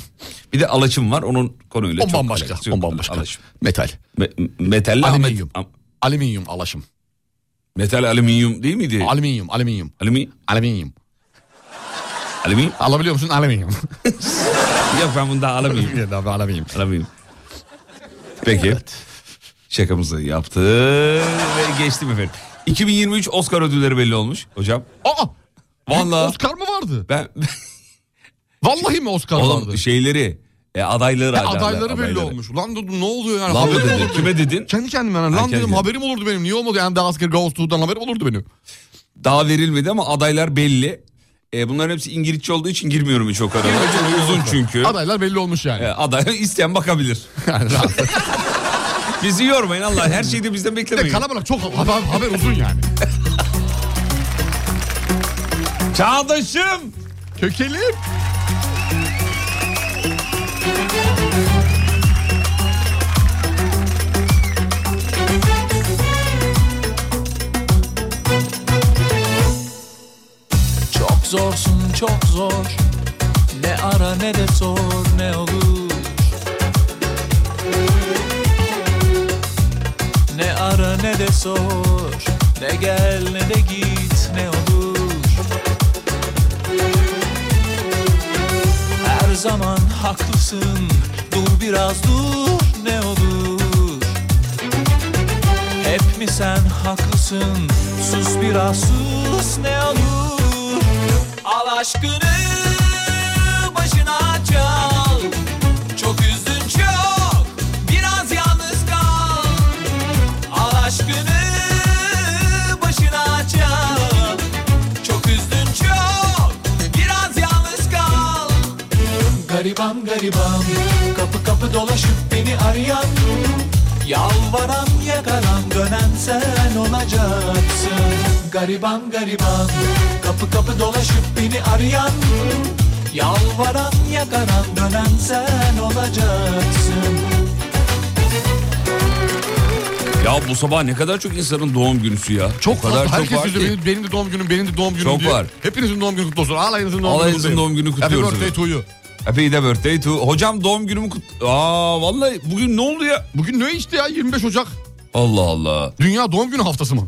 D: Bir de alaçım var onun konuyla
G: O
D: çok
G: bambaşka.
D: alakası yok.
G: O bambaşka.
D: Alaçım.
G: Metal.
D: Me- metal
G: Alüminyum.
D: alüminyum.
G: Alüminyum alaşım.
D: Metal alüminyum değil miydi?
G: Alüminyum, alüminyum.
D: Alümi,
G: Alüminyum.
D: alüminyum.
G: Alabiliyor musun? Alüminyum.
D: Yok ben bunu daha alamayayım.
G: Ya da abi, alüminyum.
D: alamayayım. Peki. Şakamızı yaptı ve geçtim efendim. 2023 Oscar ödülleri belli olmuş hocam.
G: Aa!
D: Vallahi.
G: Oscar mı vardı?
D: Ben
G: Vallahi mi Oscar vardı?
D: oğlum şeyleri e, adayları
G: E,
D: adaylar,
G: adayları belli
D: adayları.
G: olmuş. Lan dedim ne oluyor yani?
D: Lan mı
G: Haberim
D: dedin?
G: olurdu.
D: Kime dedin?
G: Kendi kendime yani. Lan
D: Erken
G: dedim
D: geldi.
G: haberim olurdu benim. Niye olmadı? Yani The Oscar Goes To'dan haberim olurdu benim.
D: Daha verilmedi ama adaylar belli. E, bunların hepsi İngilizce olduğu için girmiyorum hiç o kadar. Çok uzun çünkü.
G: Adaylar belli olmuş yani.
D: E, aday isteyen bakabilir.
G: Yani rahat.
D: Bizi yormayın Allah her şeyi de bizden
G: Bir de
D: beklemeyin.
G: kalabalık çok haber, haber uzun yani.
D: Çağdaşım.
G: Kökelim.
I: Çok zorsun çok zor Ne ara ne de sor
H: sor Ne gel ne de git ne olur Her zaman haklısın Dur biraz dur ne olur Hep mi sen haklısın Sus biraz sus ne olur Al aşkını başına çal Çok üzdün çok Biraz yalnız kal Al aşkını başına çal Çok üzdün çok Biraz yalnız kal Gariban gariban Kapı kapı dolaşıp beni arayan Yalvaran yakaran dönen sen olacaksın Gariban gariban Kapı kapı dolaşıp beni arayan Yalvaran yakaran dönen sen olacaksın
D: Ya bu sabah ne kadar çok insanın doğum günüsü ya.
G: Çok
D: O kadar
G: fazla. Herkes
D: var
G: üzüldü.
D: ki.
G: Benim, benim de doğum günüm, benim de doğum günüm
D: Çok
G: diye.
D: var.
G: Hepinizin doğum günü kutlu olsun. Alayınızın doğum
D: Alayınızın
G: günü kutlu
D: doğum günü
G: Happy
D: kutluyoruz
G: birthday
D: efendim.
G: to you.
D: Happy de birthday to. Hocam doğum günümü kut... Aa vallahi bugün ne oldu ya?
G: Bugün ne işte ya 25 Ocak?
D: Allah Allah.
G: Dünya doğum günü haftası mı?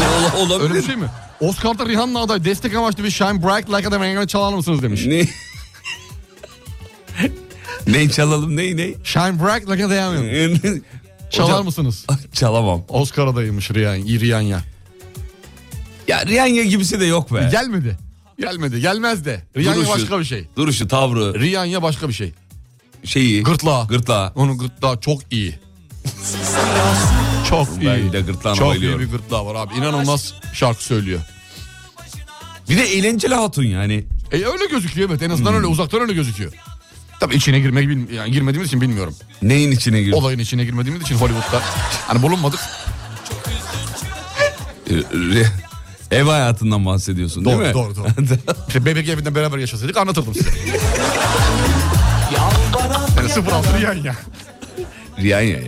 D: Ola- Olabilir.
G: Öyle bir şey mi? Oscar'da Rihanna aday destek amaçlı bir Shine Bright Like a Diamond çalar mısınız demiş.
D: Ne? ne çalalım ney ney?
G: Shine Bright Like a Diamond. Çalar
D: Hocam-
G: mısınız?
D: Çalamam.
G: Oscar adayıymış Rihanna. Rihanna.
D: Ya Rihanna gibisi de yok be.
G: Gelmedi. Gelmedi. Gelmez de. Rihanna
D: Duruşu,
G: başka bir şey.
D: Duruşu, tavrı,
G: Rihanna başka bir şey.
D: şeyi.
G: Gırtlağı.
D: Ah, Gırtlağı.
G: Onun gırtlağı çok iyi. çok iyi.
D: Ben de gırtlağına
G: Çok iyi
D: bayılıyorum.
G: bir gırtlağı var abi. İnanılmaz şarkı söylüyor.
D: Bir de eğlenceli hatun yani. Hmm.
G: E öyle gözüküyor evet. En azından öyle uzaktan öyle gözüküyor. Tabii içine girmek bil- yani girmediğimiz için bilmiyorum.
D: Neyin içine giriyor?
G: Olayın içine girmediğimiz için Hollywood'da hani bulunmadık.
D: Ee, Re- Ev hayatından bahsediyorsun değil
G: Doğru,
D: mi?
G: doğru, doğru. İşte bebek evinden beraber yaşasaydık anlatırdım size.
H: Yalvaran
G: Yani sıfır altı yan ya.
D: Rihanna ya.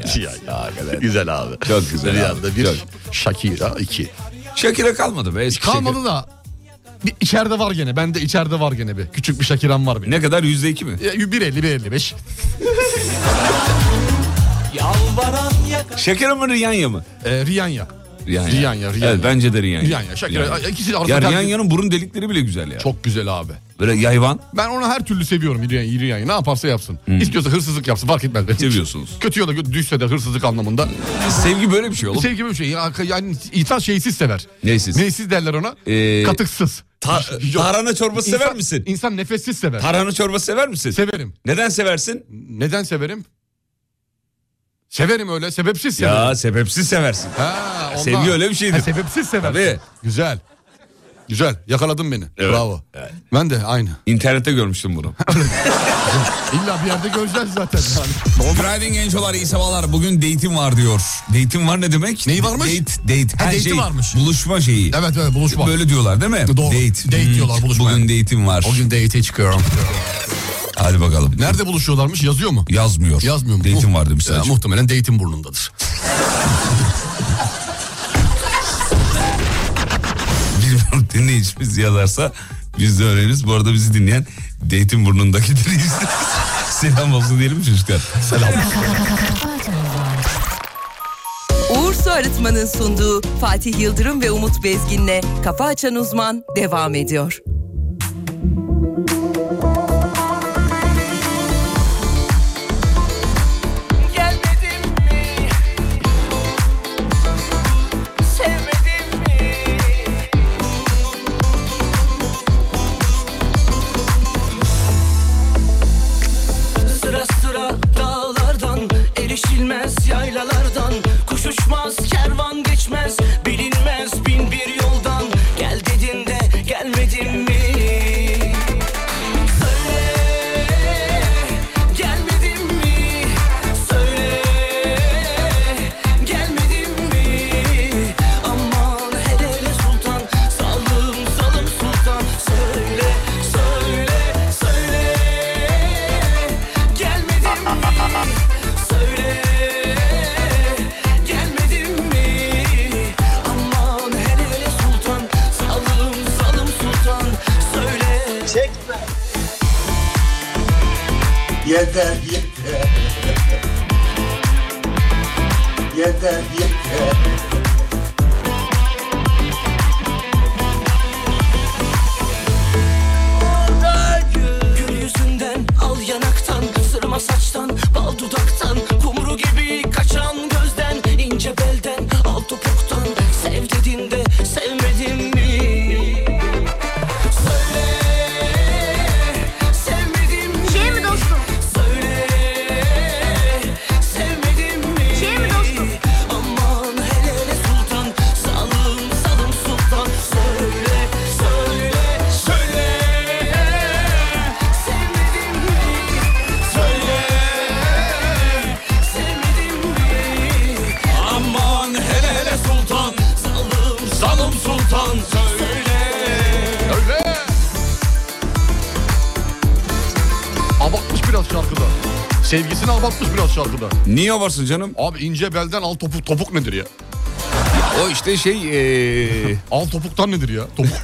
G: ya güzel abi.
D: Çok güzel abi,
G: Rüyanda bir
D: çok.
G: Shakira iki.
D: Shakira kalmadı be. Eski
G: Kalmadı
D: Shakira.
G: da bir içeride var gene. Bende içeride var gene bir. Küçük bir Shakira'm var benim.
D: Ne kadar yüzde iki mi?
G: Ya, 1.50 1.55.
H: Yalvaran yakaran
D: Shakira mı Rihanna mı?
G: Ee, Rihanna.
D: Rihanna.
G: Rihanna, Rihanna.
D: Evet bence de Rihanna.
G: Rihanna, Shakira. İkisi de arasında
D: Ya
G: tercih-
D: Rihanna'nın burun delikleri bile güzel ya.
G: Çok güzel abi.
D: Böyle yayvan
G: Ben onu her türlü seviyorum Rihanna. Rihanna ne yaparsa yapsın. İstiyorsa hırsızlık yapsın fark etmez. benim için.
D: Hmm. seviyorsunuz.
G: Kötü yola gö- düşse de hırsızlık anlamında.
D: Sevgi böyle bir şey oğlum.
G: Sevgi böyle bir şey. Ya, Yani insan şeysiz sever.
D: Neysiz?
G: Neysiz derler ona.
D: Ee,
G: Katıksız.
D: Ta-
G: Yok.
D: tarhana çorbası sever
G: İnsan-
D: misin?
G: İnsan nefessiz sever.
D: Tarhana çorbası sever misin?
G: Severim.
D: Neden seversin?
G: Neden severim? Severim öyle. Sebepsiz severim.
D: Ya sebepsiz seversin.
G: Ha, ondan.
D: Sevgi öyle bir şeydir.
G: Ha, sebepsiz sever.
D: Tabii.
G: Güzel. Güzel. Yakaladın beni.
D: Evet.
G: Bravo.
D: Evet.
G: Ben de aynı.
D: İnternette görmüştüm bunu.
G: İlla bir yerde göreceğiz zaten.
D: Driving Gencolar iyi sabahlar. Bugün date'im var diyor. Date'im var ne demek?
G: Neyi varmış?
D: Date, date.
G: Ha,
D: Her
G: date'i
D: şey,
G: varmış.
D: Buluşma şeyi.
G: evet evet buluşma.
D: Böyle diyorlar değil mi? Hmm.
G: Doğru. Date diyorlar, buluşma.
D: Bugün date'im var.
G: O gün date'e çıkıyorum.
D: Hadi bakalım.
G: Nerede buluşuyorlarmış yazıyor mu?
D: Yazmıyor.
G: Yazmıyor mu? Oh.
D: Date'im
G: Muht-
D: var demiş
G: Ya,
D: sadece.
G: muhtemelen date'in burnundadır.
D: Bilmiyorum dinleyicimiz yazarsa biz de öğreniriz. Bu arada bizi dinleyen date'in burnundaki dinleyicimiz. Selam olsun diyelim mi çocuklar. Selam.
A: Uğur Su Arıtma'nın sunduğu Fatih Yıldırım ve Umut Bezgin'le Kafa Açan Uzman devam ediyor.
J: Gelmedin mi? Sevmedin mi?
H: Sıra sıra dağlardan Erişilmez yaylalardan Kuş uçmaz kervan geçmez Bilinmez bin bir yoldan Gel dedin de gelmedin mi? Söyle gelmedin mi? Söyle gelmedin mi? Aman hele hele sultan Salım salım sultan Söyle söyle söyle Gelmedin mi? Söyle Gelmedin mi? Aman hele hele sultan Salım salım sultan Söyle
K: Yeter yeter. yeter yeter.
G: Sevgisini abartmış biraz şarkıda.
D: Niye abarsın canım?
G: Abi ince belden al topuk. Topuk nedir ya?
D: O işte şey...
G: al topuktan nedir ya? Topuk.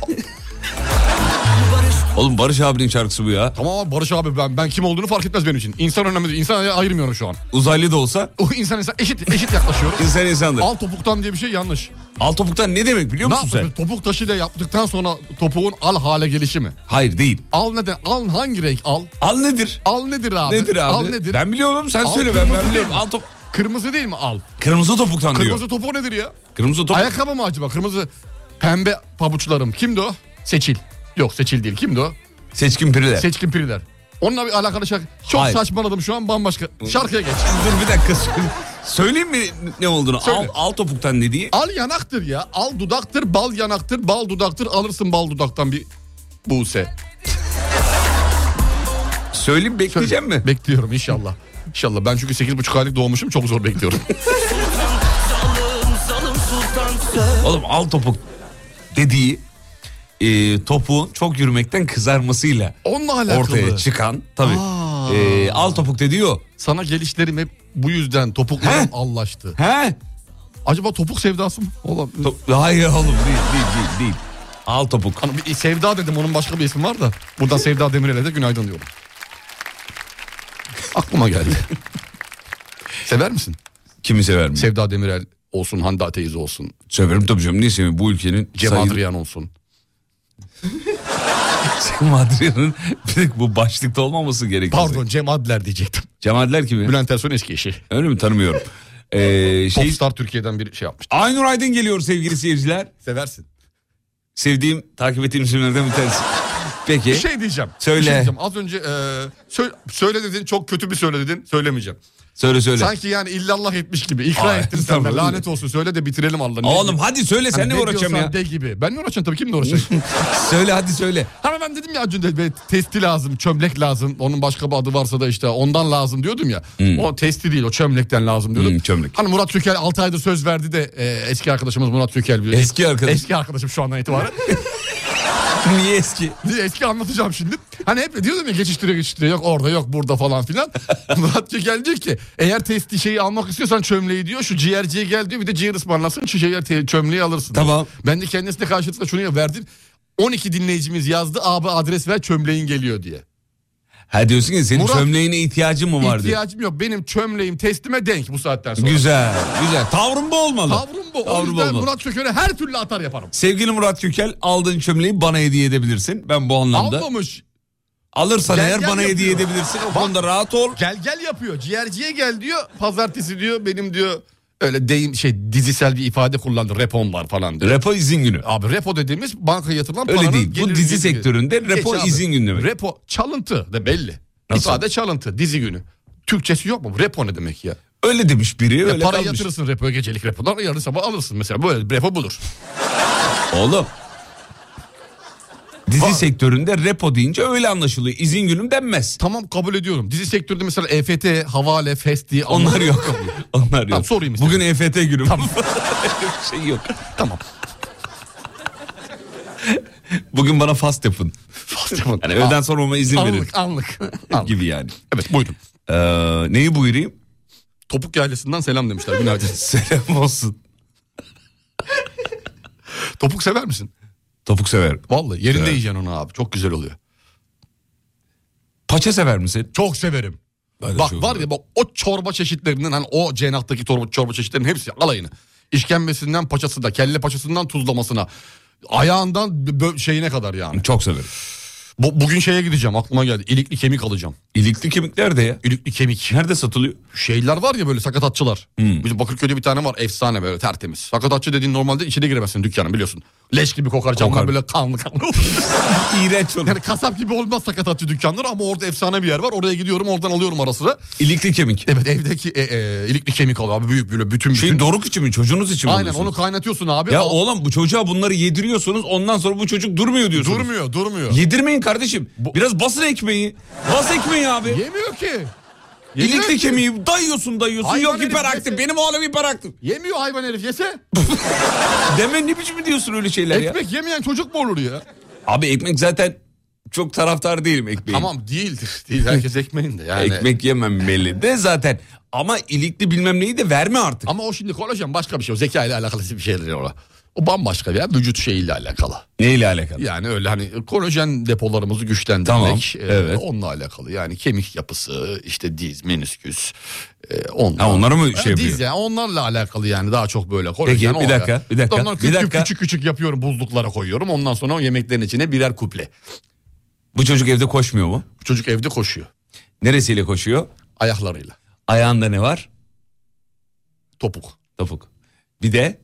D: Oğlum Barış abinin şarkısı bu ya.
G: tamam abi Barış abi ben, ben kim olduğunu fark etmez benim için. İnsan önemli değil. İnsan ayırmıyorum şu an.
D: Uzaylı da olsa
G: O insan insan eşit eşit yaklaşıyoruz.
D: İnsan insandır.
G: Al topuktan diye bir şey yanlış.
D: al topuktan ne demek biliyor
G: Ne
D: musun sen?
G: yapıyorsun? Topuk taşıyla yaptıktan sonra topuğun al hale gelişi mi?
D: Hayır değil.
G: Al neden? Al hangi renk al?
D: Al nedir?
G: Al nedir abi?
D: Nedir abi?
G: Al nedir?
D: Ben biliyorum sen
G: Al
D: söyle ben,
G: kırmızı
D: ben
G: değil
D: biliyorum.
G: mi?
D: Al top...
G: Kırmızı değil mi al?
D: Kırmızı topuktan
G: Kırmızı
D: diyor.
G: topuğu nedir ya?
D: Kırmızı topuk.
G: Ayakkabı mı acaba? Kırmızı pembe pabuçlarım. Kimdi o? Seçil. Yok Seçil değil. Kimdi o?
D: Seçkin piriler.
G: Seçkin Piriler. Onunla bir alakalı şarkı. Çok
D: Hayır.
G: saçmaladım şu an bambaşka. Şarkıya geç.
D: Dur bir dakika. söyle- Söyleyeyim mi ne olduğunu? Al,
G: Söyle.
D: al topuktan dediği.
G: Al yanaktır ya. Al dudaktır, bal yanaktır, bal dudaktır. Alırsın bal dudaktan bir Buse.
D: Söyleyeyim bekleyeceğim mi?
G: Bekliyorum inşallah. İnşallah. Ben çünkü 8,5 aylık doğmuşum. Çok zor bekliyorum.
D: Oğlum al topuk dediği e, topuğun çok yürümekten kızarmasıyla
G: Onunla alakalı.
D: ortaya çıkan tabii.
G: Aa.
D: E, al topuk dediği o.
G: Sana gelişlerim hep bu yüzden
D: He?
G: topuklarım allaştı.
D: He?
G: Acaba topuk sevdası mı? Oğlum.
D: To- Hayır oğlum değil değil değil değil. Al topuk.
G: Hani bir sevda dedim onun başka bir ismi var da. Buradan Sevda Demirel'e de günaydın diyorum. Aklıma geldi. Sever misin?
D: Kimi sever mi?
G: Sevda Demirel olsun, Hande Ateiz olsun,
D: Severim tabii canım. Niye sevmiyorum? Bu ülkenin
G: Cem
D: sayılı-
G: Adrian olsun.
D: Cem Adrian'ın bir dakika, bu başlıkta olmaması gerekiyor.
G: Pardon Cem Adler diyecektim.
D: Cem Adler kimi?
G: Bülent Ersoy'un eski eşi.
D: Öyle mi tanımıyorum. Ee, şey,
G: Popstar Türkiye'den bir şey yapmış.
D: Aynur Aydın geliyor sevgili seyirciler.
G: Seversin.
D: Sevdiğim, takip ettiğim isimlerden bir tanesi. Peki.
G: Bir şey diyeceğim.
D: Söyle.
G: Bir şey diyeceğim. Az önce e, sö- söyle dedin çok kötü bir söyle dedin söylemeyeceğim.
D: Söyle söyle.
G: Sanki yani illallah etmiş gibi ikna
D: Ay,
G: ettin sen de.
D: tamam.
G: lanet olsun söyle de bitirelim Allah'ını.
D: Oğlum hadi söyle sen Hani ne uğraşacaksın ya?
G: Hani De gibi. Ben ne uğraşacağım tabii kim de uğraşacak?
D: Söyle hadi söyle.
G: Hani ben dedim ya Acun Bey testi lazım, çömlek lazım. Onun başka bir adı varsa da işte ondan lazım diyordum ya. O testi değil o çömlekten lazım diyordum.
D: Hmm, çömlek.
G: Hani Murat Türkel 6 aydır söz verdi de e, eski arkadaşımız Murat Türkel. Bir,
D: Eski arkadaş.
G: Eski arkadaşım şu andan itibaren.
D: Niye eski?
G: Niye eski anlatacağım şimdi. Hani hep diyordum ya geçiştiriyor geçiştiriyor. Yok orada yok burada falan filan. Murat Türkel diyor ki eğer testi şeyi almak istiyorsan çömleği diyor. Şu ciğerciye gel diyor bir de ciğer ısmarlasın. Şu şeyler te- çömleği alırsın. diyor.
D: Tamam.
G: Ben de kendisine karşılıklı şunu verdim. 12 dinleyicimiz yazdı abi adres ver çömleğin geliyor diye.
D: Ha diyorsun ki senin
G: Murat-
D: çömleğine ihtiyacın mı var diyor.
G: İhtiyacım yok. Benim çömleğim testime denk bu saatten sonra.
D: Güzel güzel. Tavrın bu olmalı.
G: Tavrım bu. o
D: Tavrın
G: yüzden
D: olmalı.
G: Murat Çöker'e her türlü atar yaparım.
D: Sevgili Murat Kökel aldığın çömleği bana hediye edebilirsin. Ben bu anlamda.
G: Almamış.
D: Alırsan
G: Gel
D: eğer
G: gel
D: bana
G: yapıyor.
D: hediye edebilirsin. O konuda rahat ol.
G: Gel gel yapıyor. Ciğerciye gel diyor. Pazartesi diyor. Benim diyor öyle deyim şey dizisel bir ifade kullandı. Repom var falan diyor.
D: Repo izin günü.
G: Abi repo dediğimiz bankaya yatılan
D: Öyle
G: paranın
D: değil. Bu
G: gelir-
D: dizi
G: gelir-
D: sektöründe repo
G: abi.
D: izin günü demek.
G: Repo çalıntı da belli.
D: Nasıl?
G: İfade çalıntı dizi günü. Türkçesi yok mu? Repo ne demek ya?
D: Öyle demiş biri.
G: ya
D: Öyle
G: para
D: kalmış.
G: yatırırsın repo gecelik repodan yarın sabah alırsın mesela. Böyle bir repo budur.
D: Oğlum. Dizi
G: Var.
D: sektöründe repo deyince öyle anlaşılıyor. İzin günüm denmez.
G: Tamam kabul ediyorum. Dizi sektöründe mesela EFT, havale, fest diye
D: Onlar yok. Onlar yok.
G: Tamam, sorayım
D: Bugün EFT günüm.
G: Tamam.
D: Öyle bir şey yok.
G: Tamam.
D: Bugün bana fast yapın. Yani öğleden sonra ona izin verin.
G: anlık, anlık, anlık.
D: Gibi yani.
G: Evet buyurun.
D: Ee, neyi buyurayım?
G: Topuk Yaylası'ndan selam demişler. Günaydın.
D: Selam olsun.
G: Topuk sever misin?
D: Topuk severim.
G: Vallahi yerinde
D: Evet.
G: yiyeceksin onu abi. Çok güzel oluyor.
D: Paça sever misin?
G: Çok severim.
D: Ben de
G: bak
D: çok
G: var ya
D: severim.
G: bak o çorba çeşitlerinden hani o cenahtaki çorba, çorba çeşitlerinin hepsi alayını. İşkembesinden paçası da kelle paçasından tuzlamasına ayağından bö- şeyine kadar yani.
D: Çok severim.
G: Bu, bugün şeye gideceğim aklıma geldi. İlikli kemik alacağım.
D: İlikli kemikler de ya.
G: İlikli kemik.
D: Nerede satılıyor? Hmm.
G: şeyler var ya böyle sakatatçılar. Bizim Bakırköy'de bir tane var efsane böyle tertemiz. Sakatatçı dediğin normalde içine giremezsin dükkanın biliyorsun. Leş gibi kokar camlar
D: Kokar.
G: böyle kanlı kanlı.
D: İğrenç olur.
G: yani kasap gibi olmaz sakatatçı dükkanları ama orada efsane bir yer var. Oraya gidiyorum oradan alıyorum ara sıra.
D: İlikli kemik.
G: Evet evdeki e, e, ilikli kemik al abi büyük böyle bütün bütün.
D: Şey doruk için mi? Çocuğunuz için mi?
G: Aynen
D: alıyorsunuz?
G: onu kaynatıyorsun abi.
D: Ya
G: Al-
D: oğlum bu çocuğa bunları yediriyorsunuz ondan sonra bu çocuk durmuyor diyorsunuz.
G: Durmuyor durmuyor.
D: Yedirmeyin kardeşim. Biraz basın ekmeği. Bas ekmeği abi.
G: Yemiyor ki. Yemiyor
D: İlikli
G: ki.
D: kemiği dayıyorsun dayıyorsun.
G: Hayvan
D: Yok
G: herif
D: hiperaktif.
G: yesin.
D: Benim oğlum hiperaktif.
G: Yemiyor hayvan herif yese.
D: Deme ne biçim diyorsun öyle şeyler ya.
G: Ekmek yemeyen çocuk mu olur ya?
D: Abi ekmek zaten çok taraftar değilim ekmeğin.
G: Tamam değildir. Değil herkes ekmeğin de yani.
D: Ekmek yemem belli de zaten. Ama ilikli bilmem neyi de verme artık.
G: Ama o şimdi kolajen başka bir şey. O zeka ile alakalı bir şeyler o. O bambaşka bir yer. Vücut şeyiyle alakalı.
D: Neyle alakalı?
G: Yani öyle hani kolajen depolarımızı güçlendirmek.
D: Tamam,
G: e,
D: evet.
G: Onunla alakalı. Yani kemik yapısı, işte diz, menisküs. E, onlar.
D: Ha, onlara mı şey
G: diz
D: yapıyor?
G: yani onlarla alakalı yani daha çok böyle kolajen.
D: bir dakika,
G: olarak.
D: bir dakika,
G: Onları
D: bir
G: küçük,
D: dakika.
G: küçük küçük yapıyorum buzluklara koyuyorum. Ondan sonra o yemeklerin içine birer kuple.
D: Bu çocuk evde koşmuyor mu?
G: Çocuk evde koşuyor
D: Neresiyle koşuyor?
G: ayaklarıyla.
D: Ayağında ne var?
G: Topuk.
D: Topuk. Bir de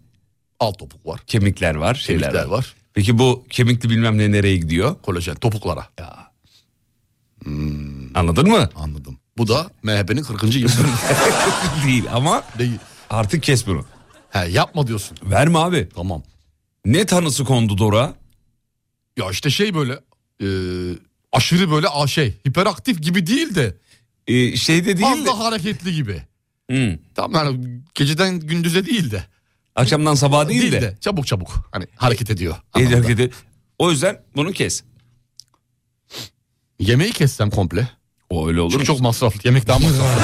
G: Alt topuk var.
D: kemikler var, şeyler
G: Kemikler
D: var.
G: var.
D: Peki bu kemikli bilmem ne nereye gidiyor?
G: Kolajen topuklara.
D: Anladın mı?
G: Anladım. Bu da MHP'nin 40. yılı
D: Değil ama
G: değil.
D: artık kes bunu.
G: He yapma diyorsun.
D: Verme abi.
G: Tamam.
D: Ne tanısı kondu Dora?
G: Ya işte şey böyle e, aşırı böyle a şey hiperaktif gibi değil de
D: Ee, şey de değil de. Hmm.
G: fazla hareketli gibi.
D: Hı.
G: Tam yani geceden gündüze değil de.
D: Akşamdan sabaha değil, de.
G: Çabuk çabuk hani hareket ediyor.
D: Ee,
G: Anlamda.
D: dedi. O yüzden bunu kes.
G: Yemeği kessem komple.
D: O öyle olur.
G: Çünkü
D: mu?
G: çok masraflı. Yemek daha masraflı.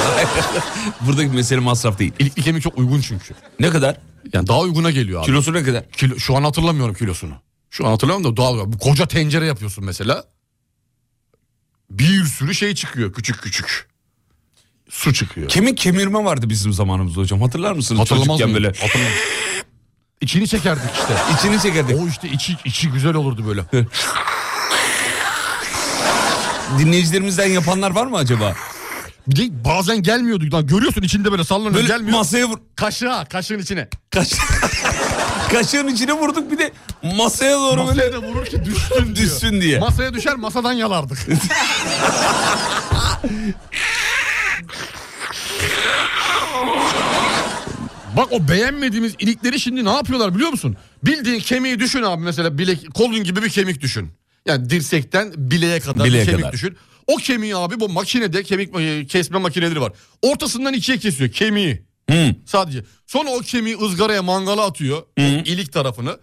D: Buradaki mesele masraf değil.
G: İlikli kemik çok uygun çünkü.
D: Ne kadar?
G: Yani daha uyguna geliyor abi.
D: Kilosu ne kadar?
G: Kilo- şu an hatırlamıyorum kilosunu. Şu an hatırlamıyorum da doğal. Bu koca tencere yapıyorsun mesela. Bir sürü şey çıkıyor küçük küçük. Su çıkıyor.
D: Kemik kemirme vardı bizim zamanımızda hocam. Hatırlar mısınız?
G: Hatırlamaz
D: Çocukken
G: mıyım?
D: böyle.
G: Hatırlamam. İçini çekerdik işte.
D: İçini çekerdik.
G: O işte içi, içi güzel olurdu böyle.
D: Dinleyicilerimizden yapanlar var mı acaba?
G: Bir de bazen gelmiyordu. Lan görüyorsun içinde böyle sallanıyor
D: Böyle
G: gelmiyor.
D: masaya vur.
G: Kaşığa kaşığın içine.
D: Kaş... Kaşığın içine vurduk bir de masaya doğru
G: Masaya
D: böyle
G: da vurur ki düşsün diyor.
D: düşsün diye.
G: Masaya düşer masadan yalardık. Bak o beğenmediğimiz ilikleri şimdi ne yapıyorlar biliyor musun? Bildiğin kemiği düşün abi mesela bilek kolun gibi bir kemik düşün. Yani dirsekten bileğe kadar
D: Bileğe
G: bir kemik
D: kadar.
G: düşün. O kemiği abi bu makinede kemik e, kesme makineleri var. Ortasından ikiye kesiyor kemiği.
D: Hı.
G: Sadece. Sonra o kemiği ızgaraya mangala atıyor. o ilik tarafını.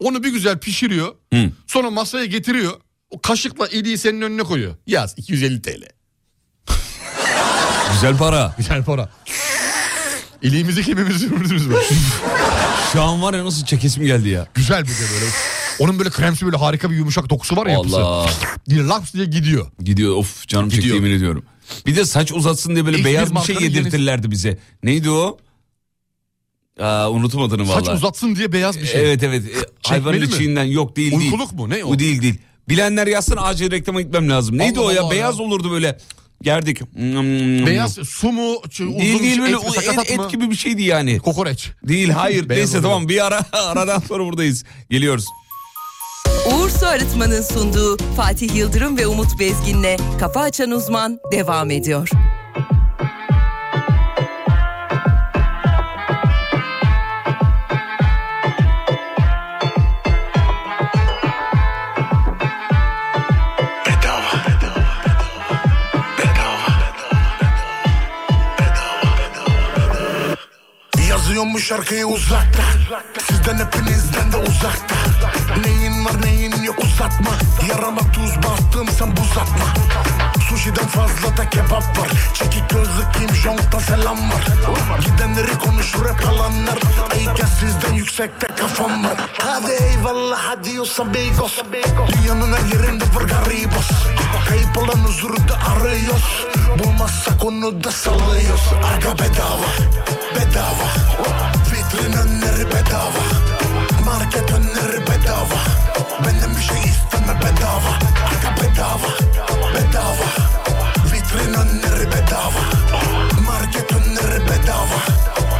G: Onu bir güzel pişiriyor.
D: Hı.
G: Sonra masaya getiriyor. O kaşıkla iliği senin önüne koyuyor. Yaz 250 TL.
D: Güzel para.
G: Güzel para. İliğimizi kemiğimizi sürdünüz mü?
D: Şu an var ya nasıl çekesim geldi ya.
G: güzel bir de böyle. Onun böyle kremsi böyle harika bir yumuşak dokusu var ya
D: Allah.
G: yapısı. Diye laps diye gidiyor.
D: Gidiyor of canım çekti
G: Gidiyor.
D: yemin ediyorum. Bir de saç uzatsın diye böyle
G: Hiçbir
D: beyaz bir şey
G: markanın
D: yedirtirlerdi bize. Neydi o? Aa, unutum adını valla.
G: Saç uzatsın diye beyaz bir şey.
D: Evet evet. E, hayvanın
G: mi?
D: içinden yok değil değil.
G: Uykuluk mu? Ne o?
D: O değil değil. Bilenler yazsın acil reklama gitmem lazım. Neydi
G: Allah
D: o ya?
G: Allah
D: beyaz
G: ya.
D: olurdu böyle. Gerdik.
G: Beyaz su mu? ç- Uzun
D: Hmm. Değil değil böyle
G: et, mi,
D: o et,
G: sakatat
D: et
G: mı?
D: gibi bir şeydi yani.
G: Kokoreç.
D: Değil hayır.
G: Beyaz
D: Neyse
G: olurdu.
D: tamam bir ara aradan sonra buradayız. Geliyoruz.
A: Uğur Su Arıtma'nın sunduğu Fatih Yıldırım ve Umut Bezgin'le Kafa Açan Uzman devam ediyor.
K: Bedava. Bedava. Bedava. Yazıyorum bu şarkıyı uzakta Sizden hepinizden de uzakta Neyin var neyin yok uzatma Yarama tuz bastım sen buz atma Sushi'den fazla da kebap var Çekik gözlü Kim Jong'da selam var Gidenleri konuşur hep alanlar Ayıken sizden yüksekte kafam var Hadi eyvallah hadi olsa beygos Dünyanın her yerinde var garibos Kayıp olan huzuru da arıyoruz Bulmazsak onu da sallıyoruz Aga bedava bedava Vitrin önleri bedava Market önleri bedava Benden bir şey isteme bedava Aga bedava bedava Vitrin önleri bedava Market önleri bedava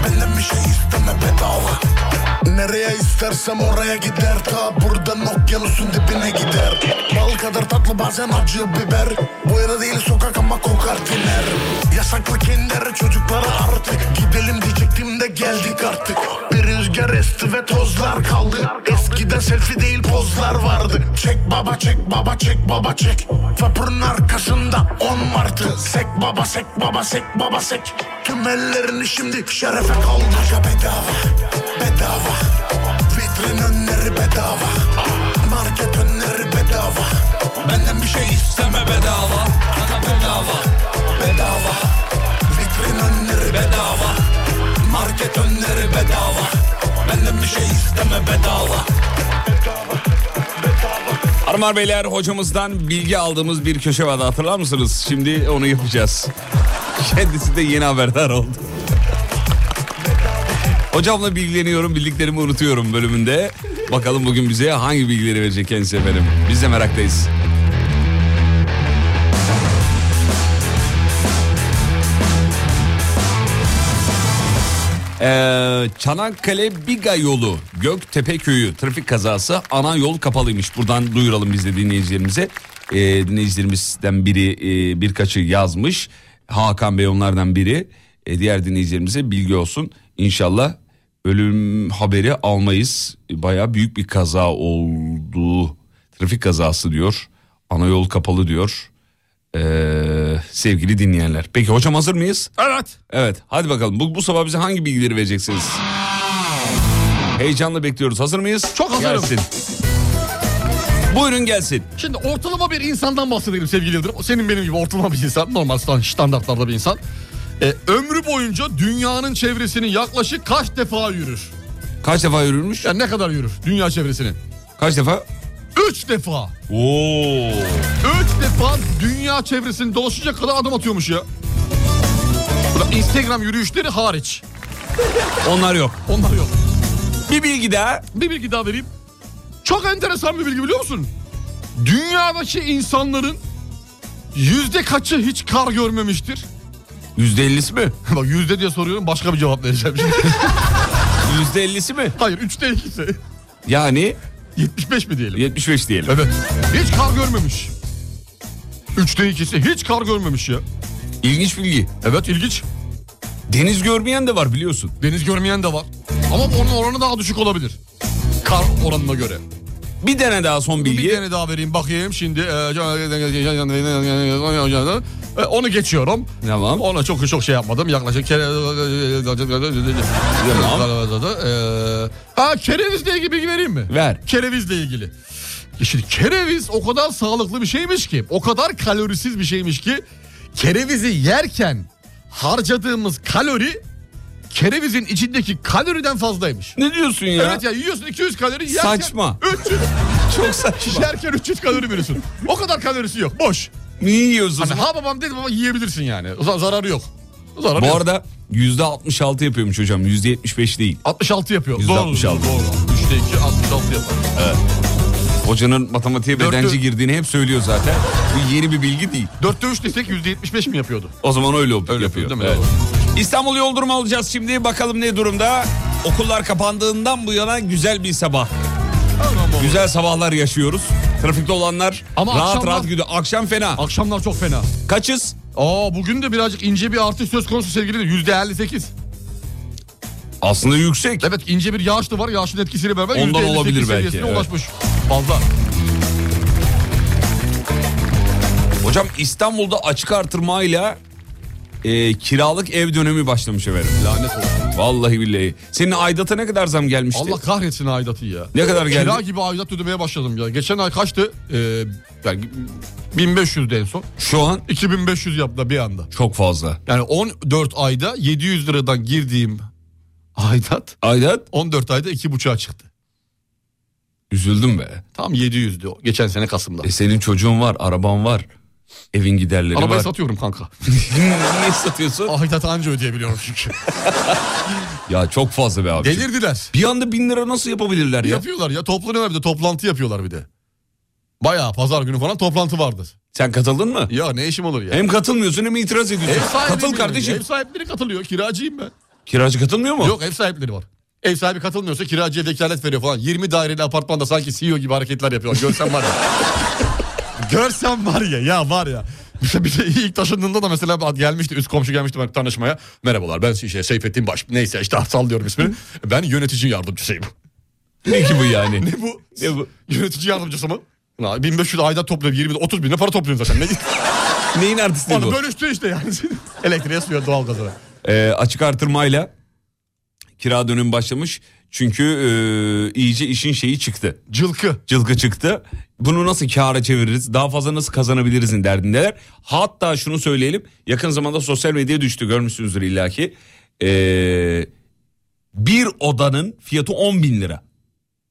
K: Benden bir şey isteme bedava Nereye istersem oraya gider Ta buradan okyanusun dibine gider Bal kadar tatlı bazen acı biber Bu yere değil sokak ama kokar tiner Yasaklı kinder çocuklara artık Gidelim diyecektim de geldik artık Bir rüzgar esti ve tozlar kaldı Eskiden selfie değil pozlar vardı Çek baba çek baba çek baba çek Vapurun arkasında on martı Sek baba sek baba sek baba sek Tüm ellerini şimdi şerefe kaldır Ya bedava bedava Vitrin önleri bedava Market önleri bedava
C: Benden bir şey isteme bedava Ana bedava Bedava Vitrin önleri bedava Market önleri bedava Benden bir şey isteme bedava
D: Armar Beyler hocamızdan bilgi aldığımız bir köşe vardı hatırlar mısınız? Şimdi onu yapacağız. Kendisi de yeni haberdar oldu. Hocamla bilgileniyorum, bildiklerimi unutuyorum bölümünde. Bakalım bugün bize hangi bilgileri verecek kendisi efendim. Biz de meraktayız. Ee, Çanakkale Biga yolu Göktepe köyü trafik kazası ana yol kapalıymış. Buradan duyuralım biz de dinleyicilerimize. Ee, dinleyicilerimizden biri e, birkaçı yazmış. Hakan Bey onlardan biri. E, diğer dinleyicilerimize bilgi olsun. İnşallah ölüm haberi almayız. E, Baya büyük bir kaza oldu. Trafik kazası diyor. Ana yol kapalı diyor. Ee, sevgili dinleyenler. Peki hocam hazır mıyız?
G: Evet.
D: Evet hadi bakalım bu, bu sabah bize hangi bilgileri vereceksiniz? Heyecanla bekliyoruz. Hazır mıyız?
G: Çok hazırım.
D: Gelsin. Buyurun gelsin.
G: Şimdi ortalama bir insandan bahsedelim sevgili Yıldırım. Senin benim gibi ortalama bir insan. Normal stand- standartlarda bir insan. E, ömrü boyunca dünyanın çevresini yaklaşık kaç defa yürür?
D: Kaç defa yürürmüş?
G: Yani ne kadar yürür dünya çevresini?
D: Kaç defa?
G: Üç defa.
D: Oo.
G: Üç defa dünya çevresini dolaşacak kadar adım atıyormuş ya. Bu da Instagram yürüyüşleri hariç.
D: Onlar yok.
G: Onlar yok.
D: Bir bilgi daha.
G: Bir bilgi daha vereyim. Çok enteresan bir bilgi biliyor musun? Dünyadaki insanların yüzde kaçı hiç kar görmemiştir?
D: Yüzde ellisi mi?
G: Bak yüzde diye soruyorum başka bir cevap vereceğim şimdi.
D: Yüzde ellisi mi?
G: Hayır üçte ikisi.
D: Yani
G: 75 mi diyelim?
D: 75 diyelim.
G: Evet. Hiç kar görmemiş. Üçte ikisi hiç kar görmemiş ya.
D: İlginç bilgi.
G: Evet ilginç.
D: Deniz görmeyen de var biliyorsun.
G: Deniz görmeyen de var. Ama onun oranı daha düşük olabilir. Kar oranına göre.
D: Bir tane daha son bilgi.
G: Bir tane daha vereyim bakayım şimdi. e, Onu geçiyorum.
D: Tamam.
G: Ona çok çok şey yapmadım. Yaklaşık kere... E, Ha kerevizle ilgili bilgi vereyim mi?
D: Ver.
G: Kerevizle ilgili. E Şimdi kereviz o kadar sağlıklı bir şeymiş ki, o kadar kalorisiz bir şeymiş ki kerevizi yerken harcadığımız kalori kerevizin içindeki kaloriden fazlaymış.
D: Ne diyorsun ya?
G: Evet ya yiyorsun 200 kalori yerken
D: Saçma.
G: 300
D: Çok saçma.
G: yerken 300 kalori veriyorsun. O kadar kalorisi yok. Boş.
D: Niye yiyorsun?
G: Hani ha babam dedi baba yiyebilirsin yani. O zaman zararı yok. Zararı
D: Bu
G: yok.
D: arada yüzde 66 yapıyormuş hocam. Yüzde 75 değil.
G: 66 yapıyor.
D: Yüzde
G: Doğru,
D: 66.
G: Doğru. 3'te 2 66 yapar.
D: Hocanın matematiğe
G: Dörtlü-
D: bedenci girdiğini hep söylüyor zaten. Bu yeni bir bilgi değil.
G: 4'te 3 desek %75 mi yapıyordu?
D: O zaman öyle, öyle
G: Öyle yapıyor,
D: yapıyor.
G: değil mi?
D: Evet. İstanbul yol durumu alacağız şimdi. Bakalım ne durumda. Okullar kapandığından bu yana güzel bir sabah. Güzel sabahlar yaşıyoruz. Trafikte olanlar
G: Ama
D: rahat
G: akşamlar-
D: rahat gidiyor. Akşam fena.
G: Akşamlar çok fena.
D: Kaçız?
G: Aa bugün de birazcık ince bir artış söz konusu sevgili yüzde 58.
D: Aslında yüksek.
G: Evet ince bir yağış da var. Yağışın etkisiyle beraber
D: Ondan
G: %58
D: olabilir belki,
G: seviyesine
D: evet.
G: ulaşmış. Fazla.
D: Hocam İstanbul'da açık artırmayla e, kiralık ev dönemi başlamış efendim.
G: Lanet olsun.
D: Vallahi billahi. Senin aidat'a ne kadar zam gelmişti?
G: Allah kahretsin aidatı ya.
D: Ne kadar geldi?
G: Kira gibi aidat ödemeye başladım ya. Geçen ay kaçtı? Ee, yani 1500'de en son.
D: Şu an
G: 2500 yaptı bir anda.
D: çok fazla.
G: Yani 14 ayda 700 liradan girdiğim aidat
D: Aidat
G: 14 ayda 2,5'a çıktı.
D: üzüldüm be.
G: Tam 700'dü o geçen sene Kasım'da.
D: E senin çocuğun var, araban var. Evin giderleri
G: Arabayı
D: var.
G: satıyorum kanka.
D: Niye satıyorsun?
G: Aidat anca ödeyebiliyorum çünkü.
D: Ya çok fazla be abi.
G: Delirdiler.
D: Bir anda bin lira nasıl yapabilirler ya?
G: Yapıyorlar ya toplanıyorlar bir de toplantı yapıyorlar bir de. Bayağı pazar günü falan toplantı vardır.
D: Sen katıldın mı?
G: Ya ne işim olur ya.
D: Hem katılmıyorsun hem itiraz
G: Ev
D: ediyorsun.
G: sahibi
D: Katıl
G: benim
D: kardeşim.
G: ya, Ev sahipleri katılıyor kiracıyım ben.
D: Kiracı katılmıyor mu?
G: Yok ev sahipleri var. Ev sahibi katılmıyorsa kiracıya vekalet veriyor falan. 20 daireli apartmanda sanki CEO gibi hareketler yapıyor. Görsen var ya. Görsen var ya ya var ya. Bir de ilk taşındığında da mesela gelmişti üst komşu gelmişti ben tanışmaya. Merhabalar ben işte Seyfettin Baş neyse işte sallıyorum ismini. Ben yönetici yardımcısıyım.
D: Ne ki bu yani?
G: Ne bu?
D: Ne bu?
G: Yönetici yardımcısı mı? Ulan 1500 ayda topluyor 20 30 bin lira para topluyorsun zaten. Ne?
D: Neyin artisti
G: Onu
D: bu?
G: bölüştü işte yani. Elektriğe suya doğalgaza.
D: Ee, açık artırmayla Kira dönüm başlamış. Çünkü e, iyice işin şeyi çıktı.
G: Cılkı.
D: Cılkı çıktı. Bunu nasıl kâra çeviririz? Daha fazla nasıl kazanabilirizin derdindeler. Hatta şunu söyleyelim. Yakın zamanda sosyal medyaya düştü. Görmüşsünüzdür illaki. E, bir odanın fiyatı 10 bin lira.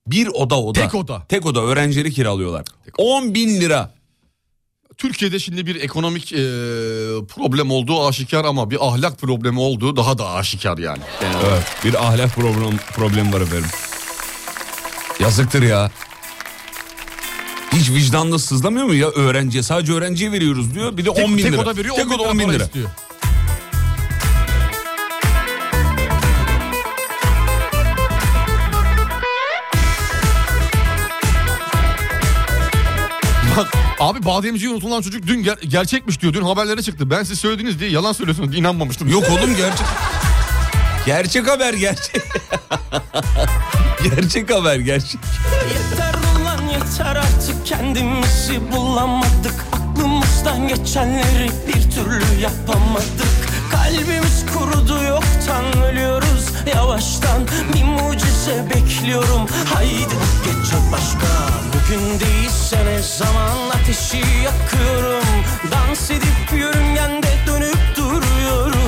D: Bir oda oda.
G: Tek oda.
D: Tek oda öğrencileri kiralıyorlar. 10 bin lira.
G: Türkiye'de şimdi bir ekonomik e, problem olduğu aşikar ama bir ahlak problemi olduğu daha da aşikar yani.
D: Evet, bir ahlak problem, problemi var efendim. Yazıktır ya. Hiç vicdanla sızlamıyor mu ya öğrenciye? Sadece öğrenciye veriyoruz diyor. Bir de
G: Tek-
D: 10 bin
G: tek
D: lira.
G: oda veriyor,
D: tek
G: 10 bin
D: oda
G: lira
D: 10 bin
G: para
D: lira.
G: istiyor. Bak abi bademciyi unutulan çocuk dün ger- gerçekmiş diyor. Dün haberlere çıktı. Ben siz söylediniz diye yalan söylüyorsunuz diye inanmamıştım.
D: Yok oğlum gerçek. Gerçek haber gerçek. gerçek haber gerçek.
L: Yeter ulan yeter artık kendimizi bulamadık Aklımızdan geçenleri bir türlü yapamadık Kalbimiz kurudu yoktan ölüyoruz yavaştan Bir mucize bekliyorum haydi geçecek başka Bugün değilse ne zaman ateşi yakıyorum Dans edip yörüngende dönüp duruyorum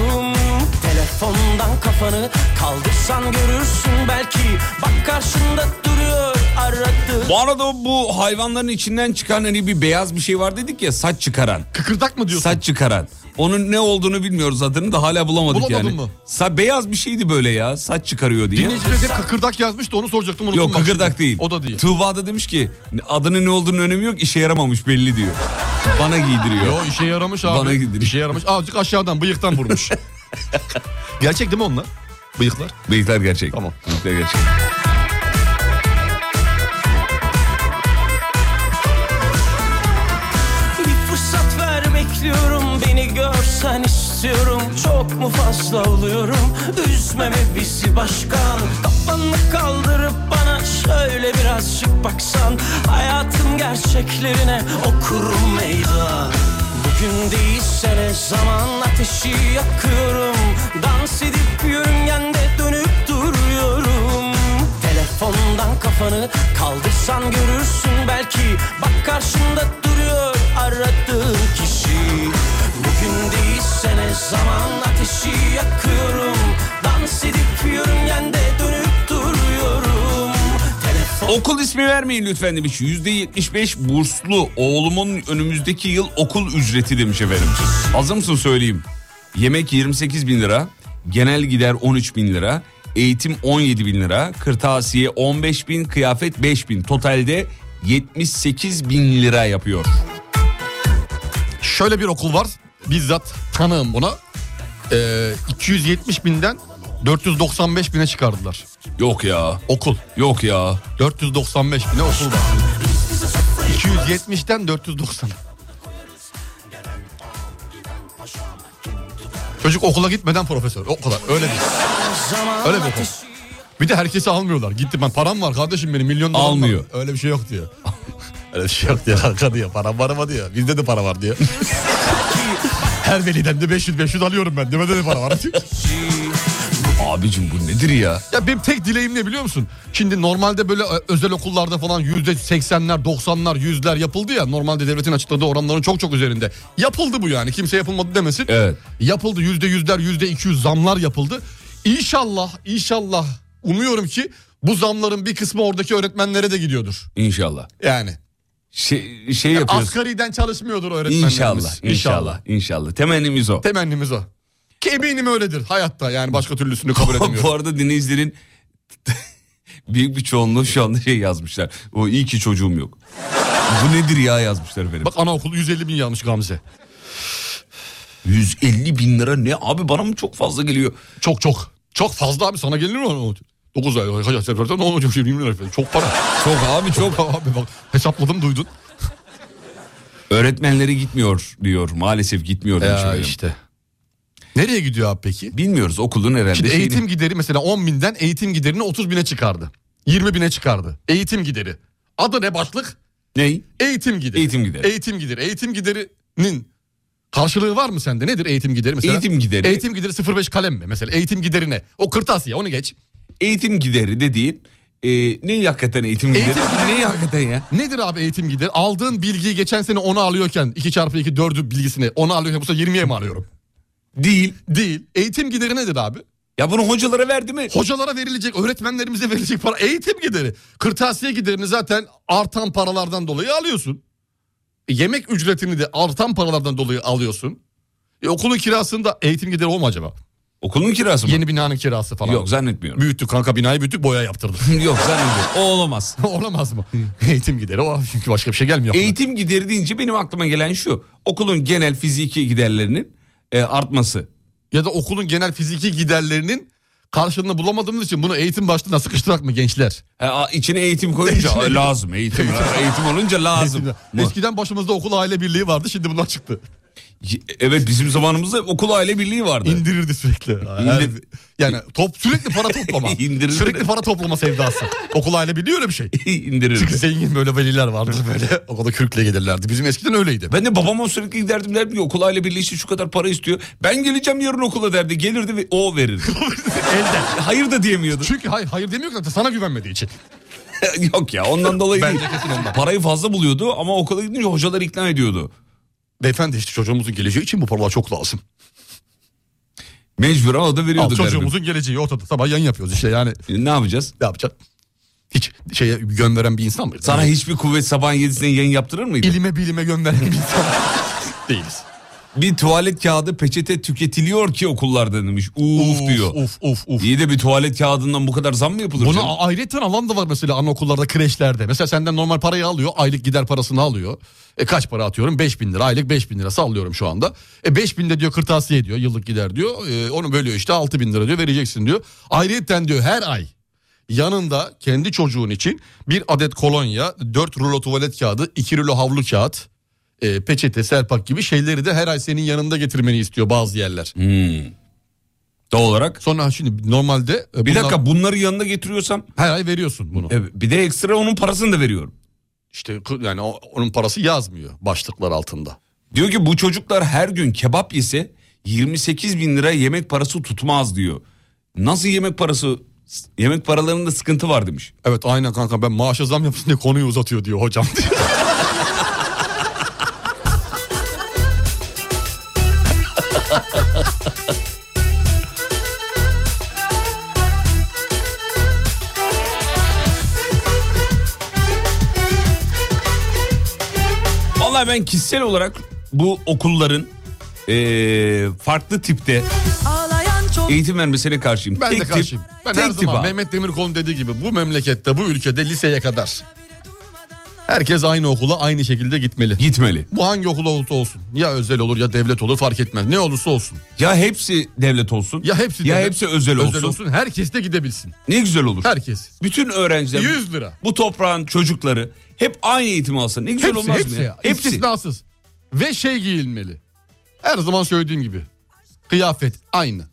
L: Telefondan kafanı kaldırsan görürsün belki Bak karşında duruyor aradı
D: Bu arada bu hayvanların içinden çıkan hani bir beyaz bir şey var dedik ya saç çıkaran.
G: Kıkırdak mı diyorsun?
D: Saç çıkaran. Onun ne olduğunu bilmiyoruz adını da hala bulamadık
G: Bulamadın
D: yani.
G: mı?
D: Sa beyaz bir şeydi böyle ya saç çıkarıyor diye.
G: Dinleyicilerimiz hep kıkırdak yazmış da onu soracaktım. Onu
D: Yok kıkırdak değil. O da değil. Tuğba da demiş ki adının ne olduğunun önemi yok işe yaramamış belli diyor. Bana giydiriyor.
G: Yo işe yaramış abi.
D: Bana giydiriyor.
G: İşe yaramış. Azıcık aşağıdan bıyıktan vurmuş. gerçek değil mi onlar? Bıyıklar.
D: Bıyıklar gerçek. Tamam. Bıyıklar gerçek.
L: Bir fırsat ver bekliyorum Beni görsen istiyorum Çok mu fazla oluyorum Üzme be bizi başkan Kafanı kaldırıp bana Şöyle birazcık baksan Hayatın gerçeklerine okurum meydan Bugün değilse ne zaman ateşi yakıyorum Dans edip yörüngende dönüp duruyorum Telefondan kafanı kaldırsan görürsün belki Bak karşında duruyor aradığın kişi Bugün değilse ne zaman ateşi yakıyorum Dans edip yörüngende dönüp duruyorum
D: Okul ismi vermeyin lütfen demiş. %75 burslu oğlumun önümüzdeki yıl okul ücreti demiş efendim. Hazır mısın söyleyeyim. Yemek 28 bin lira, genel gider 13 bin lira, eğitim 17 bin lira, kırtasiye 15 bin, kıyafet 5 bin. Totalde 78 bin lira yapıyor.
G: Şöyle bir okul var. Bizzat tanığım buna. Ee, 270 binden 495 bine çıkardılar.
D: Yok ya.
G: Okul.
D: Yok ya.
G: 495 bine okul var. 270'ten 490. Çocuk okula gitmeden profesör. O kadar. Öyle değil. Öyle bir okul. Bir de herkesi almıyorlar. Gitti ben param var kardeşim benim milyon dolar
D: Almıyor.
G: Öyle bir şey yok diyor. Öyle bir şey yok diyor kanka diyor. Param var ama diyor. Bizde de para var diyor. Her veliden de 500 500 alıyorum ben. Demede de para var.
D: Abicim bu nedir ya?
G: Ya benim tek dileğim ne biliyor musun? Şimdi normalde böyle e, özel okullarda falan yüzde seksenler, doksanlar, yüzler yapıldı ya. Normalde devletin açıkladığı oranların çok çok üzerinde. Yapıldı bu yani. Kimse yapılmadı demesin.
D: Evet.
G: Yapıldı. Yüzde yüzler, yüzde iki yüz zamlar yapıldı. İnşallah, inşallah umuyorum ki bu zamların bir kısmı oradaki öğretmenlere de gidiyordur.
D: İnşallah.
G: Yani.
D: Şey, şey yapıyoruz.
G: Asgariden çalışmıyordur öğretmenlerimiz.
D: İnşallah, inşallah, inşallah. Temennimiz o.
G: Temennimiz o. Ki eminim öyledir hayatta yani başka türlüsünü kabul edemiyorum.
D: Bu arada dinleyicilerin büyük bir çoğunluğu şu anda şey yazmışlar. O iyi ki çocuğum yok. Bu nedir ya yazmışlar benim.
G: Bak anaokulu 150 bin yanlış Gamze.
D: 150 bin lira ne abi bana mı çok fazla geliyor?
G: Çok çok. Çok fazla abi sana gelir mi? 9 ay kaç ay seferden ne olacak şimdi 20 lira falan. Çok para.
D: Çok abi çok.
G: abi bak hesapladım duydun.
D: Öğretmenleri gitmiyor diyor. Maalesef gitmiyor demiş
G: Ya
D: efendim.
G: işte. Nereye gidiyor abi peki?
D: Bilmiyoruz okulun herhalde.
G: Şimdi
D: şeyini-
G: eğitim gideri mesela 10 binden eğitim giderini 30 bine çıkardı. 20 bine çıkardı. Eğitim gideri. Adı ne başlık?
D: Ney?
G: Eğitim gideri.
D: Eğitim gideri.
G: Eğitim gideri. Eğitim giderinin karşılığı var mı sende? Nedir eğitim gideri mesela?
D: Eğitim gideri.
G: Eğitim gideri 05 kalem mi mesela? Eğitim giderine. O kırtasiye onu geç.
D: Eğitim gideri dediğin e, ne hakikaten eğitim gideri?
G: Neyi
D: hakikaten ya?
G: Nedir abi eğitim gideri? Aldığın bilgiyi geçen sene 10'a alıyorken 2 çarpı 2 4'ü bilgisini 10'a alıyorken bu sefer 20'ye mi arıyorum?
D: Değil.
G: Değil. Eğitim gideri nedir abi?
D: Ya bunu hocalara verdi mi?
G: Hocalara verilecek, öğretmenlerimize verilecek para eğitim gideri. Kırtasiye giderini zaten artan paralardan dolayı alıyorsun. E, yemek ücretini de artan paralardan dolayı alıyorsun. E, okulun kirasında eğitim gideri o mu acaba?
D: Okulun kirası
G: mı? Yeni binanın kirası falan.
D: Yok zannetmiyorum.
G: Büyüttük kanka binayı büyüttük boya yaptırdık.
D: Yok zannediyorum. O olamaz.
G: olamaz mı? eğitim gideri o çünkü başka bir şey gelmiyor. aklına.
D: Eğitim gideri deyince benim aklıma gelen şu. Okulun genel fiziki giderlerinin e, artması.
G: Ya da okulun genel fiziki giderlerinin karşılığını bulamadığımız için bunu eğitim başlığına sıkıştırak mı gençler?
D: E, a- içine eğitim koyunca
G: İçine-
D: "Aa, lazım eğitim.
G: Eğitim.
D: eğitim olunca lazım.
G: Eğitimde. Eskiden başımızda okul aile birliği vardı şimdi bunlar çıktı.
D: Evet bizim zamanımızda okul aile birliği vardı.
G: İndirirdi sürekli. Her- yani top sürekli para toplama.
D: İndirirdi.
G: Sürekli para toplama sevdası. okul aile birliği öyle bir şey.
D: İndirirdi.
G: Çünkü zengin böyle veliler vardı böyle okula kürkle gelirlerdi. Bizim eskiden öyleydi.
D: Ben de babama sürekli giderdim derdim ki okul aile birliği için şu kadar para istiyor. Ben geleceğim yarın okula derdi. Gelirdi ve o verirdi.
G: Elden.
D: Hayır da diyemiyordu.
G: Çünkü hayır, hayır demiyor ki sana güvenmediği için.
D: Yok ya ondan dolayı
G: Bence
D: değil.
G: kesin ondan.
D: Parayı fazla buluyordu ama okula gidince hocalar ikna ediyordu.
G: Beyefendi işte çocuğumuzun geleceği için bu paralar çok lazım.
D: Mecbur ama o da veriyordu
G: Al,
D: derdim.
G: çocuğumuzun geleceği ortada. Sabah yan yapıyoruz işte yani.
D: E, Ne yapacağız?
G: Ne yapacağız? Hiç şeye gönderen bir insan mı?
D: Sana hiçbir kuvvet sabahın yedisine yayın yaptırır mıydı?
G: İlime bilime gönderen bir insan değiliz.
D: Bir tuvalet kağıdı peçete tüketiliyor ki okullarda demiş. Uf, diyor.
G: Uf uf uf.
D: İyi de bir tuvalet kağıdından bu kadar zam mı yapılır?
G: Bunu
D: canım?
G: a- ayrıca alan da var mesela anaokullarda, kreşlerde. Mesela senden normal parayı alıyor, aylık gider parasını alıyor. E kaç para atıyorum? 5000 lira. Aylık 5000 lira sallıyorum şu anda. E 5000 de diyor kırtasiye diyor, yıllık gider diyor. E, onu bölüyor işte 6000 lira diyor vereceksin diyor. Ayrıyeten diyor her ay yanında kendi çocuğun için bir adet kolonya, 4 rulo tuvalet kağıdı, 2 rulo havlu kağıt, e, peçete, serpak gibi şeyleri de her ay senin yanında getirmeni istiyor bazı yerler.
D: Hmm. Doğal olarak.
G: Sonra şimdi normalde... e,
D: Bir
G: bunlar-
D: dakika bunları yanına getiriyorsam
G: Her ay veriyorsun bunu.
D: e, bir de ekstra onun parasını da veriyorum.
G: İşte kı- yani o- onun parası yazmıyor başlıklar altında.
D: Diyor ki bu çocuklar her gün kebap yese 28 bin lira yemek parası tutmaz diyor. Nasıl yemek parası? S- Yemek paralarında sıkıntı var demiş.
G: Evet aynen kanka ben maaşa zam yapsın diye konuyu uzatıyor diyor hocam.
D: Vallahi ben kişisel olarak bu okulların eee, farklı tipte
A: Ağlayan çok
D: eğitim vermesine karşıyım.
G: Ben
D: Tek
G: de
D: tip-
G: karşıyım. Ben her
D: tek tip
G: zaman
D: abi.
G: Mehmet Demirkol'un dediği gibi bu memlekette bu ülkede liseye kadar herkes aynı okula aynı şekilde gitmeli.
D: Gitmeli.
G: Bu hangi okul olursa olsun ya özel olur ya devlet olur fark etmez ne olursa olsun.
D: Ya hepsi devlet olsun.
G: Ya hepsi
D: ya
G: devlet-
D: hepsi özel, olsun.
G: Herkes de gidebilsin.
D: Ne güzel olur.
G: Herkes.
D: Bütün öğrenciler
G: 100 lira.
D: bu toprağın çocukları hep aynı eğitimi alsa ne güzel
G: Hepsi,
D: olmaz
G: hepsi,
D: mı ya?
G: istisnasız. Ve şey giyilmeli. Her zaman söylediğim gibi. Kıyafet aynı.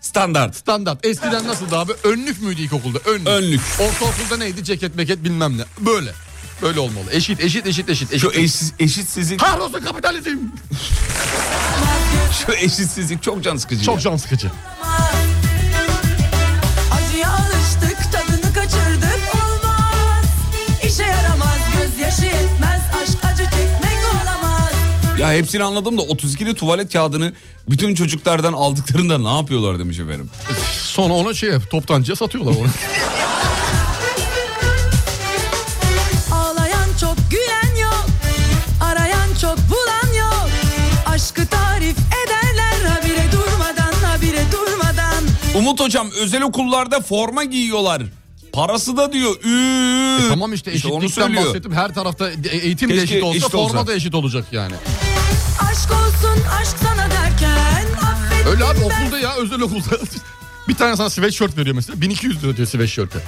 D: Standart.
G: Standart. Eskiden nasıldı abi? Önlük müydü ilkokulda? Önlük.
D: Önlük.
G: Ortaokulda neydi? Ceket, meket bilmem ne. Böyle. Böyle olmalı. Eşit, eşit, eşit, eşit.
D: Şu
G: eşit.
D: eşsiz, eşitsizlik,
G: Kahrolsun kapitalizm.
D: şu eşitsizlik çok can sıkıcı.
G: Çok
D: ya.
G: can sıkıcı.
E: Acıya alıştık tadını kaçırdık olmaz İşe yaramaz gözyaşı yetmez aşk acı çekmek olamaz
D: Ya hepsini anladım da 32'li tuvalet kağıdını bütün çocuklardan aldıklarında ne yapıyorlar demiş efendim.
G: Sonra ona şey toptancıya satıyorlar onu.
E: Ağlayan çok gülen yok Arayan çok bulan yok Aşkı tarif ederler habire durmadan habire durmadan
D: Umut hocam özel okullarda forma giyiyorlar. Parası da diyor. Üü.
G: E tamam işte
D: İşte onu
G: eşitlikten
D: söylüyor.
G: bahsettim. Her tarafta e- eğitim de
D: Keşke
G: eşit olsa,
D: eşit olsa.
G: forma da eşit olacak yani.
E: Aşk olsun aşk sana derken affet
G: Öyle abi okulda ya özel okulda. Bir tane sana sweatshirt veriyor mesela. 1200 lira diyor sweatshirt'e.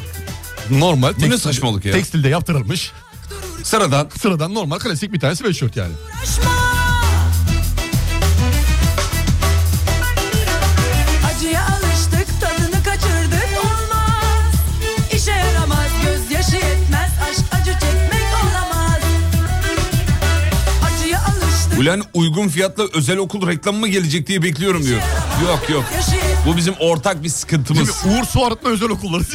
G: Normal.
D: ne saçmalık ya?
G: Tekstilde yaptırılmış.
D: Sıradan.
G: Sıradan normal klasik bir tane sweatshirt yani.
E: Acıya alıştık tadını kaçırdık olmaz İşe yaramaz gözyaşı yetmez aşk acı çekmek olamaz Acıya alıştık
D: Bu Ulan uygun fiyatla özel okul reklamı mı gelecek diye bekliyorum diyor. Yok yok. Bu bizim ortak bir sıkıntımız.
G: Uğur Su Arıtma Özel Okulları.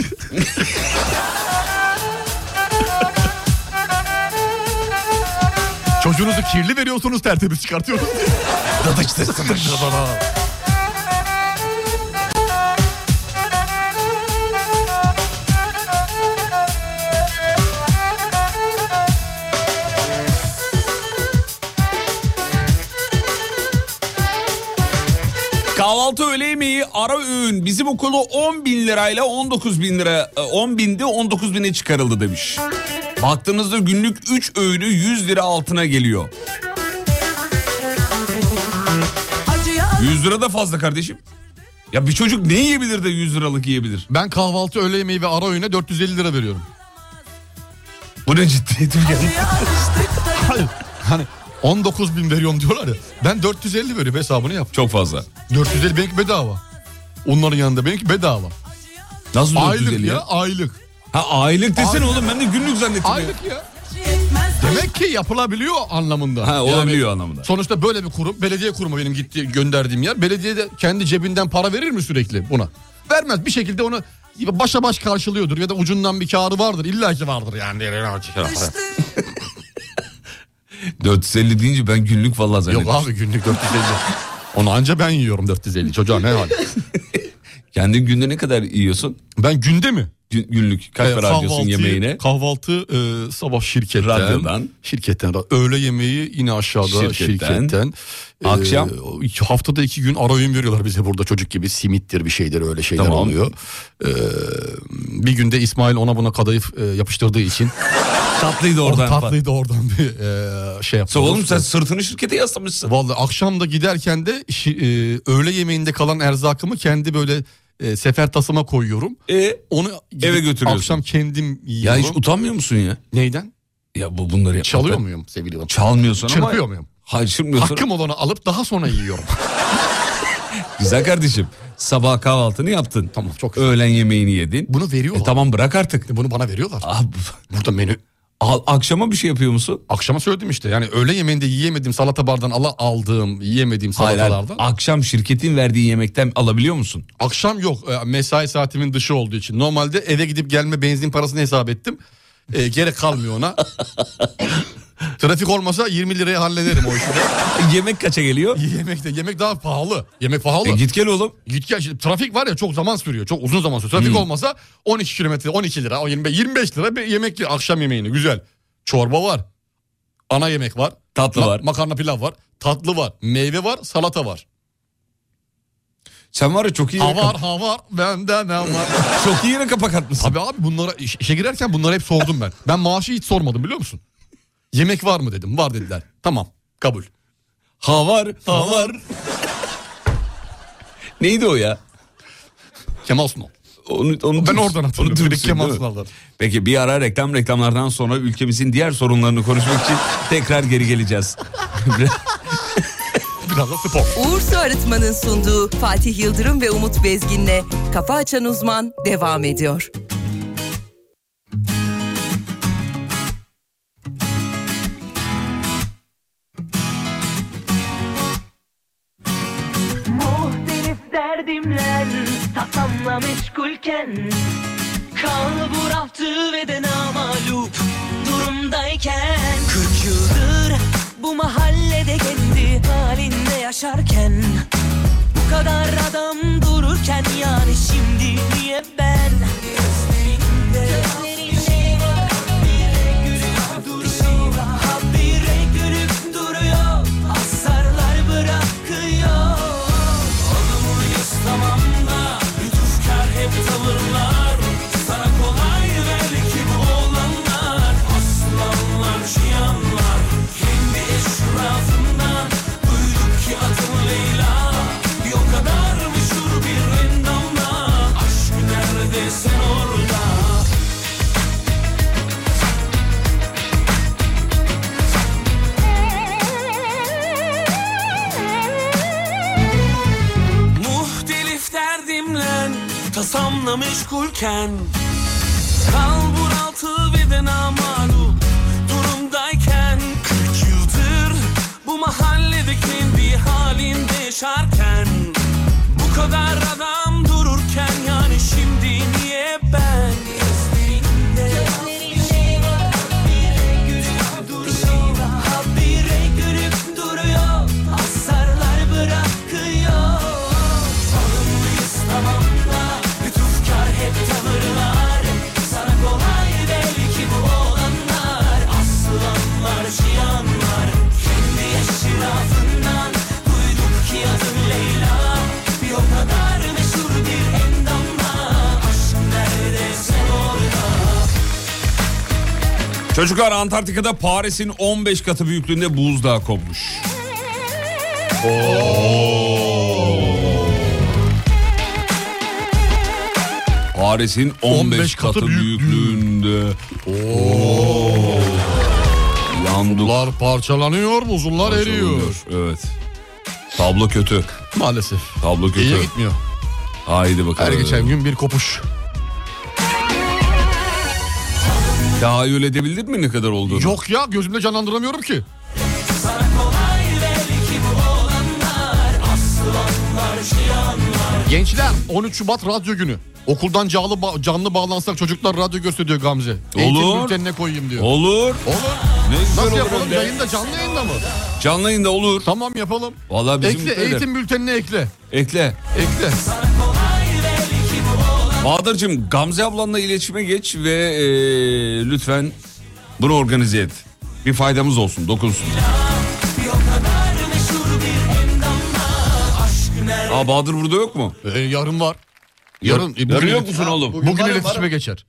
G: Çocuğunuzu kirli veriyorsunuz tertemiz çıkartıyorsunuz. Dadıçtırsınız.
D: Kahvaltı öğle yemeği ara öğün bizim okulu 10 bin lirayla 19 bin lira e, 10 binde 19 bine çıkarıldı demiş. Baktığınızda günlük 3 öğünü 100 lira altına geliyor. 100 lira da fazla kardeşim. Ya bir çocuk ne yiyebilir de 100 liralık yiyebilir?
G: Ben kahvaltı, öğle yemeği ve ara öğüne 450 lira veriyorum.
D: Bu ne ciddiyetim geldi.
G: Hayır. Hani 19 bin veriyorum diyorlar ya. Ben 450 veriyorum hesabını yap.
D: Çok fazla.
G: 450 benimki bedava. Onların yanında benimki bedava.
D: Nasıl 450
G: Aylık
D: ya?
G: ya aylık.
D: Ha aylık desene oğlum ben de günlük zannettim. ya.
G: Aylık ya. Demek ki yapılabiliyor anlamında.
D: Ha, olabiliyor anlamında.
G: Sonuçta böyle bir kurum, belediye kurumu benim gitti gönderdiğim yer. Belediye de kendi cebinden para verir mi sürekli buna? Vermez. Bir şekilde onu başa baş karşılıyordur ya da ucundan bir karı vardır. İlla ki vardır yani.
D: 450 deyince ben günlük vallahi
G: Yok
D: zannettim.
G: abi günlük 450. Onu anca ben yiyorum 450 çocuğa ne var?
D: Kendin günde ne kadar yiyorsun?
G: Ben günde mi?
D: Gün- günlük kaç
G: Ee,
D: para harcıyorsun
G: kahvaltıyı-
D: yemeğine?
G: Kahvaltı e, sabah şirketten.
D: Radyodan.
G: Şirketten. ra- Öğle yemeği yine aşağıda
D: Şirketten.
G: şirketten. Ee,
D: Akşam?
G: iki- haftada iki gün ara öğün veriyorlar bize burada çocuk gibi. Simittir bir şeydir öyle şeyler
D: Tamam.
G: oluyor. Ee, bir günde İsmail ona buna kadayıf e, yapıştırdığı için.
D: Tatlıydı
G: o
D: oradan. falan.
G: tatlıydı oradan bir e, şey yaptı.
D: Sen oğlum sen sırtını şirkete yaslamışsın.
G: Vallahi akşam da giderken de şi- e, öğle yemeğinde kalan erzakımı kendi böyle e, sefer tasıma koyuyorum.
D: E,
G: Onu gidip
D: Eve götürüyorsun.
G: Akşam kendim
D: ya
G: yiyorum.
D: hiç utanmıyor musun ya?
G: Neyden? E,
D: Ya bu bunları yapmak.
G: Çalıyor muyum sevgili hocam?
D: Çalmıyorsun ama.
G: Çırpıyor muyum?
D: Hayır çırpmıyorsun.
G: Hakkım olanı alıp daha sonra yiyorum.
D: Güzel kardeşim. Sabah kahvaltını yaptın.
G: Tamam, çok güzel.
D: Öğlen yemeğini yedin.
G: Bunu
D: E
G: veriyorlar. E,
D: tamam bırak artık. Ah,
G: Bunu bana veriyorlar.
D: Aa,
G: Burada menü.
D: al- akşama bir şey yapıyor musun?
G: Akşama söyledim işte. Yani öğle yemeğinde yiyemediğim salata bardan ala aldığım, yiyemediğim
D: Hayır, hayır.
G: salatalardan.
D: Akşam şirketin verdiği yemekten alabiliyor musun?
G: Akşam yok. E, Mesai saatimin dışı olduğu için. Normalde eve gidip gelme benzin parasını hesap ettim. E, gerek kalmıyor ona. Trafik olmasa 20 liraya hallederim o işi. de.
D: E, yemek kaça geliyor?
G: yemek de yemek daha pahalı. Yemek pahalı.
D: E, git gel oğlum. Hmm.
G: Git gel şimdi trafik var ya çok zaman sürüyor. Çok uzun zaman sürüyor. Trafik olmasa 12 kilometre 12 lira o 25, 25 lira bir yemek yiyor. akşam yemeğini güzel. Çorba var. Ana yemek var.
D: Tatlı
G: ma-
D: var.
G: Makarna pilav var. Tatlı var. Meyve var. Salata var.
D: Sen var ya çok iyi
G: Ha
D: yere,
G: var
D: kap-
G: ha var. Bende ne var.
D: çok iyi yere kapak atmışsın.
G: Abi abi bunlara iş- işe girerken bunları hep sordum ben. Ben maaşı hiç sormadım biliyor musun? Yemek var mı dedim. Var dediler. Tamam kabul.
D: Ha var, ha var. Neydi o ya?
G: Kemal Sunal.
D: Onu, onu
G: Ben oradan hatırlıyorum.
D: Onu
G: Direkt Kemal
D: değil mi?
G: Sunal'dan.
D: Peki bir ara reklam reklamlardan sonra ülkemizin diğer sorunlarını konuşmak için tekrar geri geleceğiz.
G: Biraz da spor.
A: Uğur Su Arıtma'nın sunduğu Fatih Yıldırım ve Umut Bezgin'le Kafa Açan Uzman devam ediyor.
H: Muhtelif derdimler Tasamla meşgulken Kalbur altı ve de namalup durumdayken 40 yıldır bu mahallede kendi halinde yaşarken Bu kadar adam dururken yani şimdi niye ben Gözlerinde Gözlerinde Habire gülüp duruyor Habire gülüp duruyor Asarlar bırakıyor Muhtelif derdimle Tasamla meşgulken Kalbur altı ve de namalup Durumdayken 40 yıldır Bu mahalle yaşarken Bu kadar adam dururken yani şimdi niye ben Gözlerinde bir şey var Habire gülüp duruyor Habire gülüp duruyor Hasarlar bırakıyor Alımlıyız tamam da Lütufkar hep tavırlar Sana kolay belki bu olanlar Aslanlar, cihanlar Kendi eşrafından Duyduk ki adın Leyla Bir o kadar meşhur bir endamla Aşk nerede sen orada
D: Çocuklar Antarktika'da Paris'in 15 katı büyüklüğünde buzdağı kopmuş. Paris'in 15, katı, büyüklüğünde. Yandık.
G: Buzullar parçalanıyor, buzullar eriyor.
D: Evet. Tablo kötü.
G: Maalesef.
D: Tablo kötü.
G: İyiye gitmiyor.
D: Haydi bakalım.
G: Her geçen gün bir kopuş.
D: Tahayyül edebildin mi ne kadar olduğunu?
G: Yok ya gözümde canlandıramıyorum ki.
H: Sana kolay belki bu olanlar Aslanlar, cihanlar
G: Gençler 13 Şubat radyo günü. Okuldan canlı, ba- canlı bağlansak çocuklar radyo gösteriyor Gamze. Eğitim
D: Olur.
G: bültenine koyayım diyor.
D: Olur.
G: Olur.
D: Ne güzel
G: Nasıl
D: olur
G: yapalım?
D: hem de.
G: Yayında canlı yayında mı?
D: Canlı yayında olur.
G: Tamam yapalım.
D: Vallahi bizim
G: ekle
D: mutlu eder.
G: eğitim bültenine ekle.
D: Ekle.
G: Ekle.
D: Bahadır'cığım Gamze ablanla iletişime geç ve e, lütfen bunu organize et. Bir faydamız olsun, dokunsun. Aa Bahadır burada E, yok mu?
G: Ee, yarın var. Yarın.
D: Yarın yok musun oğlum?
G: Bugün,
D: Bugün
G: iletişime geçer.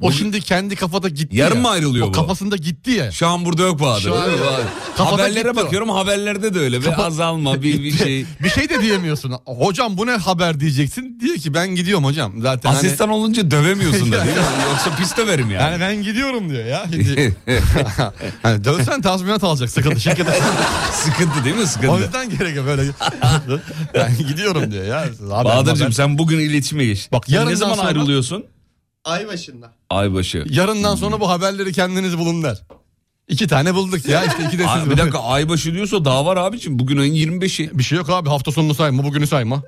G: O şimdi kendi kafada gitti
D: Yarın
G: ya.
D: mı ayrılıyor
G: o
D: bu?
G: kafasında gitti ya.
D: Şu an burada yok Bahadır.
G: Şu an-
D: değil mi? Bahadır?
G: Kafada
D: Haberlere
G: gitti o.
D: bakıyorum haberlerde de öyle. Bir
G: Kafa-
D: azalma bir, bir şey.
G: Bir şey de diyemiyorsun. Hocam bu ne haber diyeceksin. Diyor ki ben gidiyorum hocam. Zaten hani-
D: Asistan olunca dövemiyorsun da değil mi? Yoksa pis döverim yani.
G: Yani ben gidiyorum diyor ya. Şimdi, hani dönsen tazminat alacak sıkıntı şirkete.
D: Sıkıntı değil mi
G: o
D: sıkıntı?
G: yüzden gerek yok böyle. ben gidiyorum diyor ya. Haber, haber.
D: Bahadır'cığım sen bugün iletişime geç. Bak
G: yarından
D: ne zaman
G: sonra-
D: ayrılıyorsun?
M: Ay başında.
D: Aybaşı.
G: Yarından sonra bu haberleri kendiniz bulun der. İki tane bulduk ya işte iki de
D: Ay,
G: siz.
D: bir dakika aybaşı diyorsa daha var abicim. Bugün ayın 25'i.
G: Bir şey yok abi hafta sonunu sayma bugünü sayma.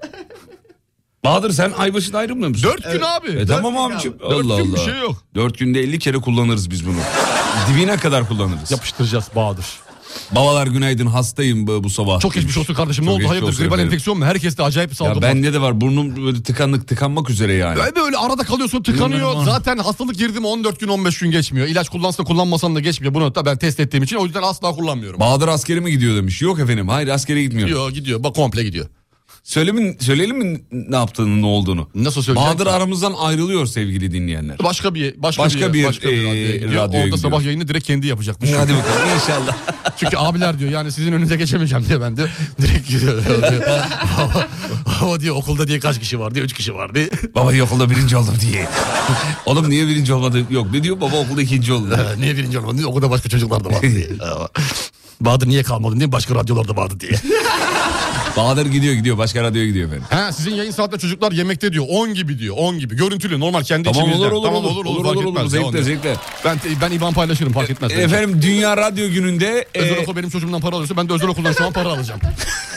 D: Bahadır sen aybaşına ayrılmıyor musun?
G: Dört gün abi.
D: E
G: Dört
D: tamam
G: gün
D: abicim.
G: abi. Dört
D: Allah
G: gün
D: Allah.
G: bir şey yok.
D: Dört günde 50 kere kullanırız biz bunu. Dibine kadar kullanırız.
G: Yapıştıracağız Bahadır.
D: Babalar günaydın hastayım bu, bu sabah.
G: Çok geçmiş olsun kardeşim ne
D: Çok
G: oldu
D: geçmiş
G: hayırdır
D: olsun
G: gribal
D: efendim.
G: enfeksiyon mu? Herkeste acayip bir salgın
D: Ya
G: var.
D: bende de var burnum böyle tıkanlık tıkanmak üzere yani.
G: Böyle böyle arada kalıyorsun tıkanıyor.
D: Bilmiyorum.
G: Zaten hastalık girdi mi 14 gün 15 gün geçmiyor. İlaç kullansan kullanmasan da geçmiyor. Bunu da ben test ettiğim için o yüzden asla kullanmıyorum.
D: Bahadır askere mi gidiyor demiş. Yok efendim hayır askere gitmiyor.
G: Gidiyor gidiyor bak komple gidiyor.
D: Söylemin, söyleyelim mi ne yaptığını ne olduğunu?
G: Nasıl söyleyeceğim?
D: Bahadır aramızdan ayrılıyor sevgili dinleyenler.
G: Başka bir başka,
D: Başka
G: bir,
D: bir,
G: başka bir
D: e,
G: radyoya gidiyor.
D: radyoya
G: Orada
D: gidiyor.
G: sabah yayını direkt kendi yapacakmış.
D: Hadi bakalım inşallah.
G: Çünkü abiler diyor yani sizin önünüze geçemeyeceğim diye ben de direkt gidiyor. diyor. o diyor okulda diye kaç kişi var diye 3 kişi var diye.
D: Baba diyor, okulda birinci oldum diye. Oğlum niye birinci olmadı? Yok ne diyor baba okulda ikinci oldu.
G: Ee, niye birinci olmadın diye okulda başka çocuklar da var diye. Ee, Bahadır niye kalmadın diye başka radyolarda vardı diye.
D: Bahadır gidiyor gidiyor başka radyoya gidiyor efendim.
G: Ha sizin yayın saatinde çocuklar yemekte diyor. 10 gibi diyor. 10 gibi. Görüntülü normal kendi
D: Tamam
G: içimizden.
D: olur olur
G: tamam,
D: olur olur olur,
G: fark
D: olur,
G: etmez. ya,
D: zevkle
G: onu.
D: zevkle. E,
G: Ben ben IBAN paylaşırım fark etmez. benim için.
D: Efendim Dünya Radyo Günü'nde e,
G: özel okul benim çocuğumdan para alıyorsa ben de özel okuldan şu an para alacağım.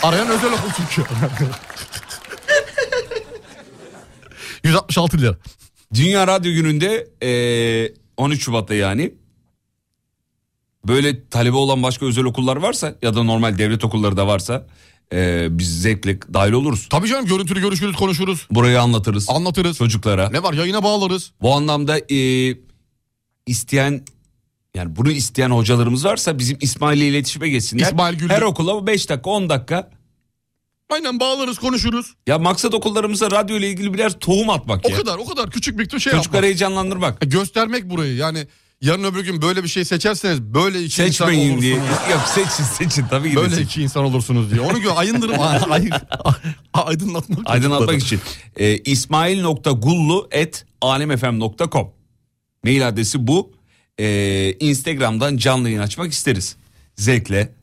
G: Arayan özel okul çünkü. 166 lira.
D: Dünya Radyo Günü'nde e, 13 Şubat'ta yani böyle talebe olan başka özel okullar varsa ya da normal devlet okulları da varsa e, biz zevkle dahil oluruz.
G: Tabii canım görüntülü görüşürüz konuşuruz.
D: Burayı anlatırız
G: Anlatırız.
D: çocuklara.
G: Ne var yayına bağlarız.
D: Bu anlamda e, isteyen yani bunu isteyen hocalarımız varsa bizim İsmail ile iletişime geçsinler.
G: İsmail Güldür.
D: Her okula 5 dakika 10 dakika.
G: Aynen bağlarız konuşuruz.
D: Ya maksat okullarımıza radyo ile ilgili birer tohum atmak
G: O
D: ya.
G: kadar o kadar küçük bir şey
D: Çocukları
G: yapmak.
D: heyecanlandırmak.
G: Göstermek burayı yani yarın öbür gün böyle bir şey seçerseniz böyle iki insan
D: Seçmeyin diye.
G: olursunuz.
D: Yok seçin seçin tabii ki. de
G: Böyle
D: seçin.
G: iki insan olursunuz diye. Onu gö ayındırım. ay, ay- aydınlatmak.
D: Aydınlatmak için. E, İsmail.gullu et alemfm.com Mail adresi bu. E, Instagram'dan canlı yayın açmak isteriz. Zevkle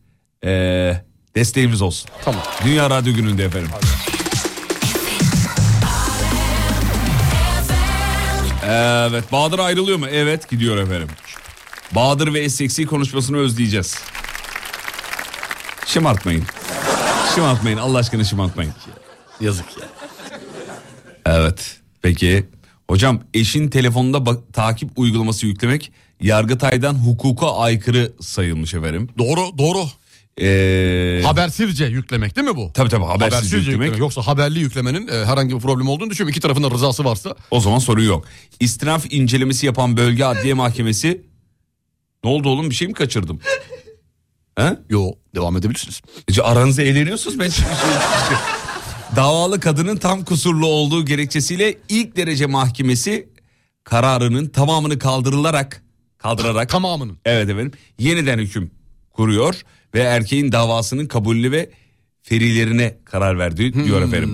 D: e, desteğimiz olsun.
G: Tamam.
D: Dünya Radyo Günü'nde efendim. Evet Bahadır ayrılıyor mu? Evet gidiyor efendim. Bahadır ve SX'i konuşmasını özleyeceğiz. Şımartmayın. Şımartmayın Allah aşkına şımartmayın. Yazık ya. Evet peki. Hocam eşin telefonunda bak- takip uygulaması yüklemek Yargıtay'dan hukuka aykırı sayılmış efendim. Ee,
G: Doğru doğru. Habersizce yüklemek değil mi bu?
D: Tabii tabii habersiz
G: Habersizce
D: yüklemek.
G: yüklemek. Yoksa haberli yüklemenin e, herhangi bir problem olduğunu düşünüyorum. İki tarafın da rızası varsa.
D: O zaman sorun yok. İstinaf incelemesi yapan bölge adliye mahkemesi... Ne oldu oğlum bir şey mi kaçırdım? He?
G: Yo devam edebilirsiniz.
D: Aranızda eğleniyorsunuz ben şimdi- şey- Davalı kadının tam kusurlu olduğu gerekçesiyle ilk derece mahkemesi kararının tamamını kaldırılarak kaldırarak
G: tamamının
D: evet efendim yeniden hüküm kuruyor ve erkeğin davasının kabulü ve ferilerine karar verdiği diyor
G: Hmm.
D: efendim.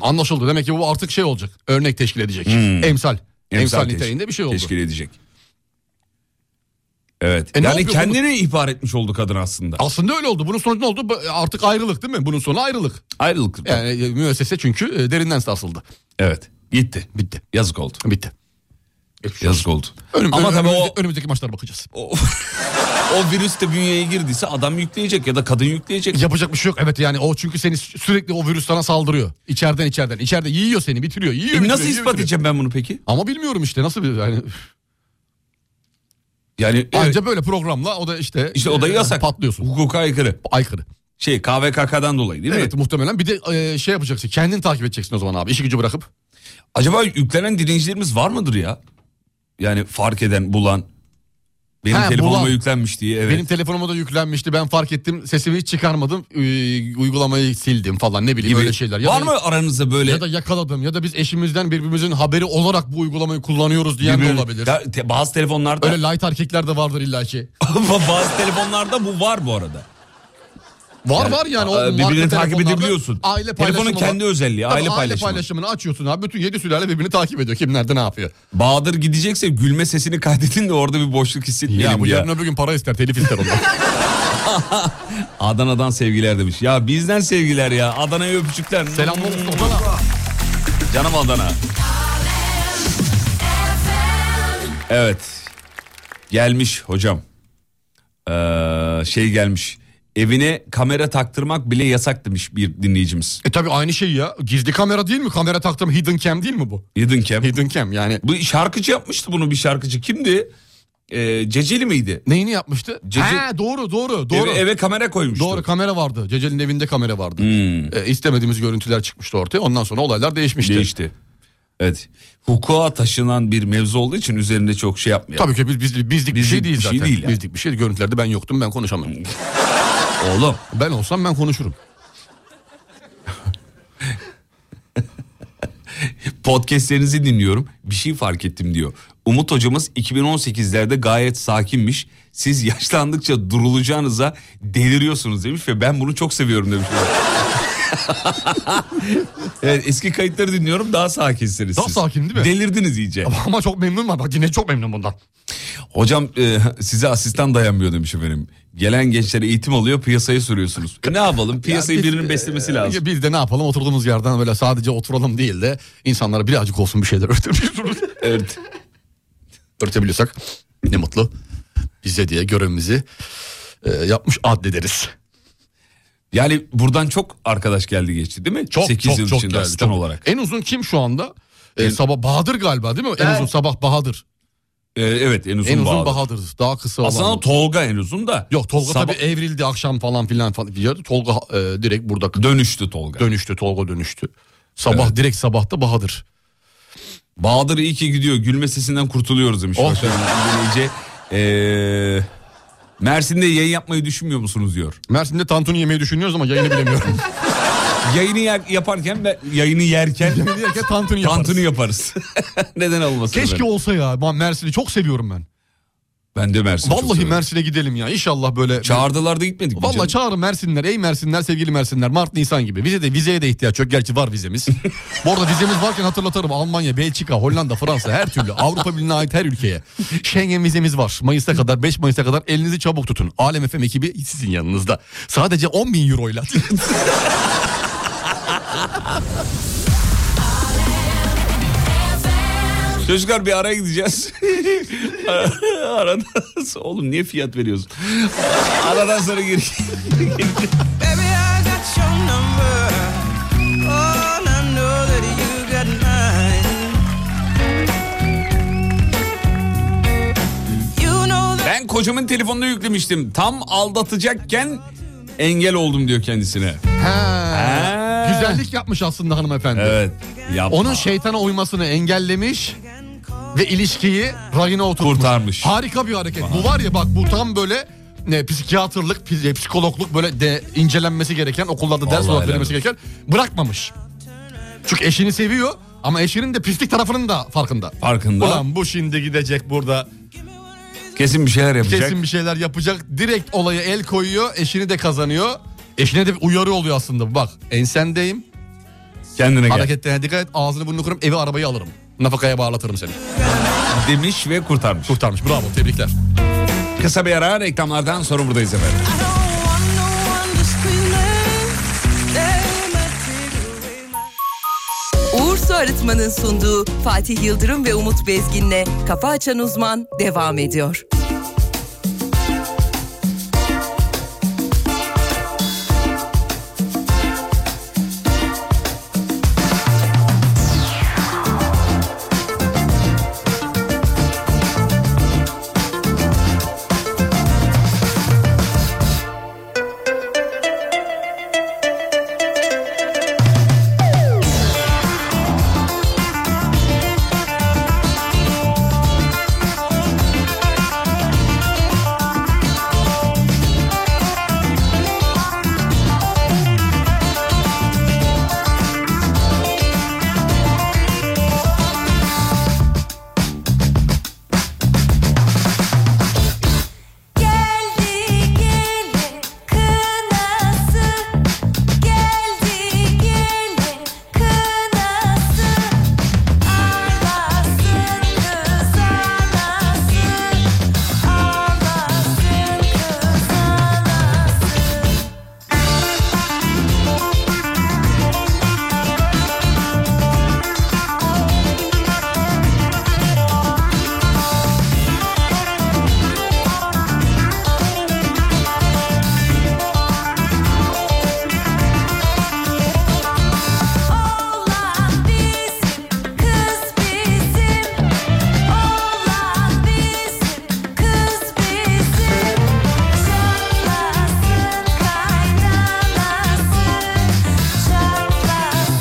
G: Anlaşıldı. Demek ki bu artık şey olacak. Örnek teşkil edecek.
D: Hmm.
G: Emsal. Emsal,
D: teş-
G: niteliğinde bir şey oldu.
D: Teşkil edecek. Evet.
G: E ne
D: yani
G: yapıyor
D: kendini ihbar etmiş oldu kadın aslında.
G: Aslında öyle oldu. Bunun sonucu ne oldu? Bu- Artık ayrılık değil mi? Bunun sonu ayrılık.
D: Ayrılık.
G: Yani e, müessese çünkü e, derinden sarsıldı.
D: Evet. Gitti.
G: Bitti.
D: Yazık oldu.
G: Bitti.
D: Yazık oldu.
G: Önüm-
D: Ama
G: önüm-
D: tabii o
G: önümüzdeki- önümüzdeki maçlara bakacağız.
D: o virüs de bünyeye girdiyse adam yükleyecek ya da kadın yükleyecek.
G: Yapacak bir şey yok. Evet yani o çünkü seni sü- sürekli o virüs sana saldırıyor. İçeriden içeriden. İçeride yiyor seni bitiriyor. Yiyor,
D: E
G: bitiriyor,
D: nasıl
G: yiyor,
D: ispat
G: bitiriyor.
D: edeceğim ben bunu peki?
G: Ama bilmiyorum işte nasıl bir yani.
D: Yani
G: Anca böyle programla o da işte.
D: işte o da
G: e,
D: yasak.
G: Patlıyorsun.
D: Hukuka aykırı.
G: Aykırı.
D: Şey KVKK'dan dolayı değil mi?
G: Evet muhtemelen bir de e, şey yapacaksın. Kendini takip edeceksin o zaman abi. İşi gücü bırakıp.
D: Acaba yüklenen direncilerimiz var mıdır ya? Yani fark eden, bulan. Benim
G: Ha,
D: telefonuma
G: bulan.
D: yüklenmiş diye. Evet.
G: Benim telefonuma da yüklenmişti. Ben fark ettim. Sesimi hiç çıkarmadım. Ü- uygulamayı sildim falan ne bileyim
D: Gibi.
G: öyle şeyler.
D: Var
G: da-
D: mı aranızda böyle-
G: Ya da yakaladım ya da biz eşimizden birbirimizin haberi olarak bu uygulamayı kullanıyoruz diyen de
D: Birbirine-
G: olabilir.
D: Ya, te- bazı telefonlarda
G: Öyle light erkekler de vardır illaki.
D: bazı telefonlarda bu var bu arada.
G: Var
D: Yani,
G: var yani.
D: e,
G: marka
D: birbirini takip
G: telefonlarda
D: edebiliyorsun.
G: Aile
D: Telefonun
G: paylaşımı
D: kendi özelliği,
G: Tabii
D: aile paylaşımı.
G: paylaşımını açıyorsun abi. Bütün yedi sülale birbirini takip ediyor. Kim nerede ne yapıyor.
D: Bahadır gidecekse gülme sesini kaydedin de orada bir boşluk hissetmeyelim
G: Yani bu
D: ya.
G: yarın öbür gün para ister, telif ister ondan.
D: Adana'dan sevgiler demiş. Ya bizden sevgiler ya. Adana'ya öpücükler. Selamlar
G: Adana.
D: Canım Adana. Evet. Gelmiş hocam. Ee, şey gelmiş. Evine kamera taktırmak bile yasak demiş bir dinleyicimiz.
G: E tabi aynı şey ya. Gizli kamera değil mi? Kamera taktım hidden cam değil mi bu?
D: Hidden cam.
G: Hidden cam yani.
D: Bu şarkıcı yapmıştı bunu bir şarkıcı. Kimdi? Ee, Ceceli miydi?
G: Neyini yapmıştı?
D: Cece-
G: Ha doğru doğru doğru.
D: Eve, eve kamera koymuştu. Hmm.
G: Doğru kamera vardı. Cecel'in evinde kamera vardı. E, istemediğimiz görüntüler çıkmıştı ortaya. Ondan sonra olaylar değişmişti.
D: Değişti. Evet. Hukuka taşınan bir mevzu olduğu için üzerinde çok şey yapmayalım.
G: Tabii ki biz, biz- bizlik, bir şey değil
D: bir şey
G: zaten.
D: değil yani.
G: Bizlik bir şey. Görüntülerde ben yoktum ben konuşamam.
D: Oğlum.
G: Ben olsam ben konuşurum.
D: Podcastlerinizi dinliyorum. Bir şey fark ettim diyor. Umut hocamız 2018'lerde gayet sakinmiş. Siz yaşlandıkça durulacağınıza deliriyorsunuz demiş ve ben bunu çok seviyorum demiş. evet, eski kayıtları dinliyorum daha sakinsiniz
G: Daha
D: siz.
G: sakin değil mi?
D: Delirdiniz iyice.
G: Ama çok memnun var. Bak yine çok memnun bundan.
D: Hocam e, size asistan dayanmıyor demiş efendim. Gelen gençlere eğitim alıyor piyasaya sürüyorsunuz. E, ne yapalım piyasayı
G: Ya biz- e,
D: birinin beslemesi lazım.
G: Ya Biz de ne yapalım oturduğumuz yerden böyle sadece oturalım değil de insanlara birazcık olsun bir şeyler örtebiliyoruz.
D: Evet.
G: Örtebiliyorsak ne mutlu. Bize diye görevimizi e, yapmış addederiz.
D: Yani buradan çok arkadaş geldi geçti değil mi?
G: Çok
D: 8
G: çok
D: yıl
G: çok
D: içinde
G: geldi,
D: asistan
G: çok.
D: olarak.
G: En uzun kim şu anda? E, sabah Bahadır galiba değil mi? En
D: Evet.
G: uzun sabah Bahadır.
D: E, evet en uzun,
G: en uzun
D: Bahadır.
G: Bahadır. Daha kısa olan.
D: Aslında Tolga en uzun da.
G: Yok Tolga
D: Sabah-
G: tabii evrildi akşam falan filan falan. Ya, Tolga e, direkt burada
D: Dönüştü Tolga.
G: dönüştü. Tolga dönüştü. Sabah direkt sabahta Bahadır.
D: Bahadır iyi ki gidiyor. Gülme sesinden kurtuluyoruz demiş.
G: Oh.
D: Başkan dinleyici. E, Mersin'de yayın yapmayı düşünmüyor musunuz diyor.
G: Mersin'de tantuni yemeyi düşünüyoruz ama yayını bilemiyorum.
D: Yayını yer- yaparken ve yayını yerken
G: Yemeği yerken tantuni yaparız.
D: tantuni yaparız. Neden olmasın?
G: Keşke
D: efendim?
G: olsa ya. Ben Mersin'i çok seviyorum ben.
D: Ben de Mersin'i çok
G: Vallahi
D: severim.
G: Mersin'e gidelim ya. İnşallah böyle.
D: Çağırdılar da gitmedik. mi
G: Vallahi
D: canım?
G: çağırın Mersinler, ey Mersinler, sevgili Mersinler. Mart, Nisan gibi. Vize de, vizeye de ihtiyaç yok. Gerçi var vizemiz. Bu arada vizemiz varken hatırlatırım. Almanya, Belçika, Hollanda, Fransa her türlü. Avrupa Birliği'ne ait her ülkeye. Schengen vizemiz var. Mayıs'a kadar, 5 Mayıs'a kadar elinizi çabuk tutun. Alem FM ekibi sizin yanınızda. Sadece 10 bin euroyla.
D: Çocuklar bir araya gideceğiz. Aradan sonra... Oğlum niye fiyat veriyorsun? Aradan sonra gir.
H: Baby, I got
M: your number. All I know that you got mine. You know that
D: Ben kocamın telefonunu yüklemiştim. Tam aldatacakken engel oldum diyor kendisine.
G: Ha. Güzellik yapmış aslında hanımefendi.
D: Evet. yapma.
G: Onun şeytana uymasını engellemiş ve ilişkiyi rayına oturtmuş. Kurtarmış. Harika bir hareket. Bu var ya bak bu tam böyle ne psikiyatrlık, pis- e, psikologluk böyle de incelenmesi gereken, okullarda ders
D: Vallahi
G: olarak
D: helal
G: verilmesi gereken bırakmamış. Çünkü eşini seviyor ama eşinin de pislik tarafının da farkında.
D: Farkında.
G: Ulan bu şimdi gidecek burada
D: Kesin bir şeyler yapacak.
G: Kesin bir şeyler yapacak. Direkt olaya el koyuyor. Eşini de kazanıyor. Eşine de bir uyarı oluyor aslında. Bak ensendeyim.
D: Kendine gel.
G: Hareketlerine dikkat et. Ağzını burnunu kırarım. Evi arabayı alırım. Nafakaya bağlatırım seni.
D: Demiş ve kurtarmış.
G: Kurtarmış bravo tebrikler.
D: Kısa bir ara reklamlardan sonra buradayız efendim.
A: Uğur Su Arıtma'nın sunduğu Fatih Yıldırım ve Umut Bezgin'le Kafa Açan Uzman devam ediyor.
H: Geldi gele kınası Geldi gele kınası Ağlasın kız ağlasın Ağlasın kız Oğlan bizim, kız bizim Oğlan bizim, kız bizim Çatlasın, kaynanasın Çatlasın,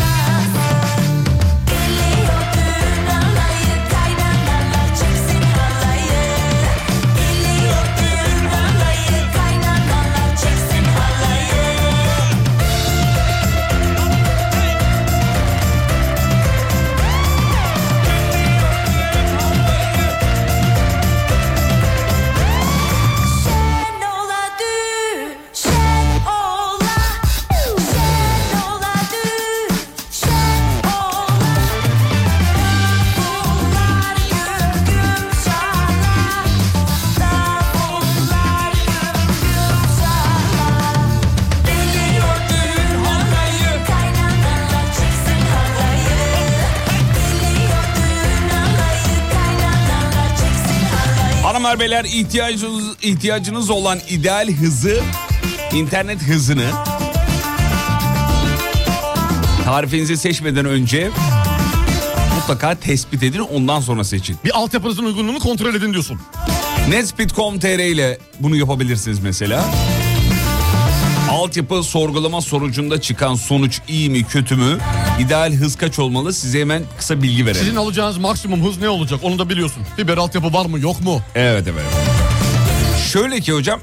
H: kaynanasın Geliyor düğün alayı, kaynanalar çeksin halayı Geliyor düğün alayı, kaynanalar çeksin halayı Şen ola düğün, şen ola Şen ola düğün, şen ola Davullar güm çalar Davullar güm çalar Geliyor düğün olayı Kaynanalar çeksin halayı Geliyor düğün olayı Kaynanalar çeksin halayı
D: Hanımlar beyler ihtiyacınız, ihtiyacınız olan ideal hızı, internet hızını tarifinizi seçmeden önce mutlaka tespit edin ondan sonra seçin.
G: Bir altyapınızın uygunluğunu kontrol edin diyorsun.
D: Netspeed.com.tr ile bunu yapabilirsiniz mesela. Altyapı sorgulama sonucunda çıkan sonuç iyi mi kötü mü? İdeal hız kaç olmalı? Size hemen kısa bilgi verelim.
G: Sizin alacağınız maksimum hız ne olacak onu da biliyorsun. Fiber altyapı var mı yok mu?
D: Evet evet. Şöyle ki hocam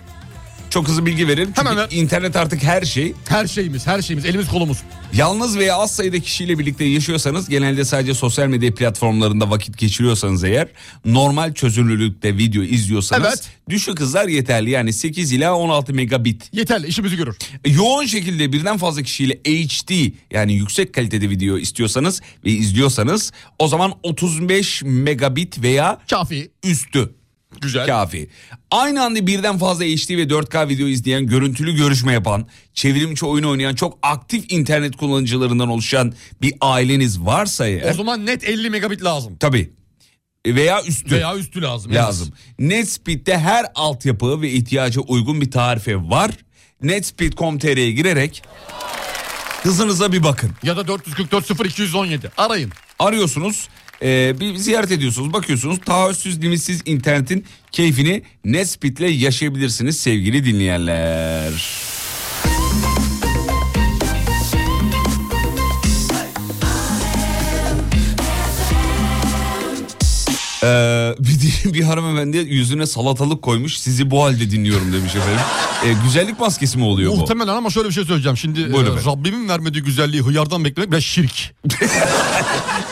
D: çok hızlı bilgi verelim. Çünkü internet artık her şey.
G: Her şeyimiz, her şeyimiz, elimiz kolumuz.
D: Yalnız veya az sayıda kişiyle birlikte yaşıyorsanız genelde sadece sosyal medya platformlarında vakit geçiriyorsanız eğer normal çözünürlükte video izliyorsanız düşük hızlar yeterli. Yani 8 ila 16 megabit.
G: Yeterli işimizi görür.
D: Yoğun şekilde birden fazla kişiyle HD yani yüksek kalitede video istiyorsanız ve izliyorsanız o zaman 35 megabit veya
G: kafi
D: üstü.
G: Güzel.
D: Kafi. Aynı anda birden fazla HD ve 4K video izleyen, görüntülü görüşme yapan, çevrimçi oyun oynayan çok aktif internet kullanıcılarından oluşan bir aileniz varsa eğer...
G: O zaman net 50 megabit lazım.
D: Tabii. E, Veya üstü.
G: Veya üstü lazım. en az.
D: Lazım. Netspeed'de her altyapı ve ihtiyaca uygun bir tarife var. netspeed.com.tr'ye girerek hızınıza bir bakın. Ya da 444 0217 arayın. Arıyorsunuz e, bir ziyaret ediyorsunuz bakıyorsunuz taahhütsüz limitsiz internetin keyfini Netspeed'le yaşayabilirsiniz sevgili dinleyenler. Ee, bir, bir hanımefendi yüzüne salatalık koymuş sizi bu halde dinliyorum demiş efendim. Ee, güzellik maskesi mi oluyor bu?
G: Muhtemelen ama şöyle bir şey söyleyeceğim. Şimdi e,
D: Buyurun efendim.
G: Rabbimin vermediği güzelliği hıyardan beklemek biraz şirk.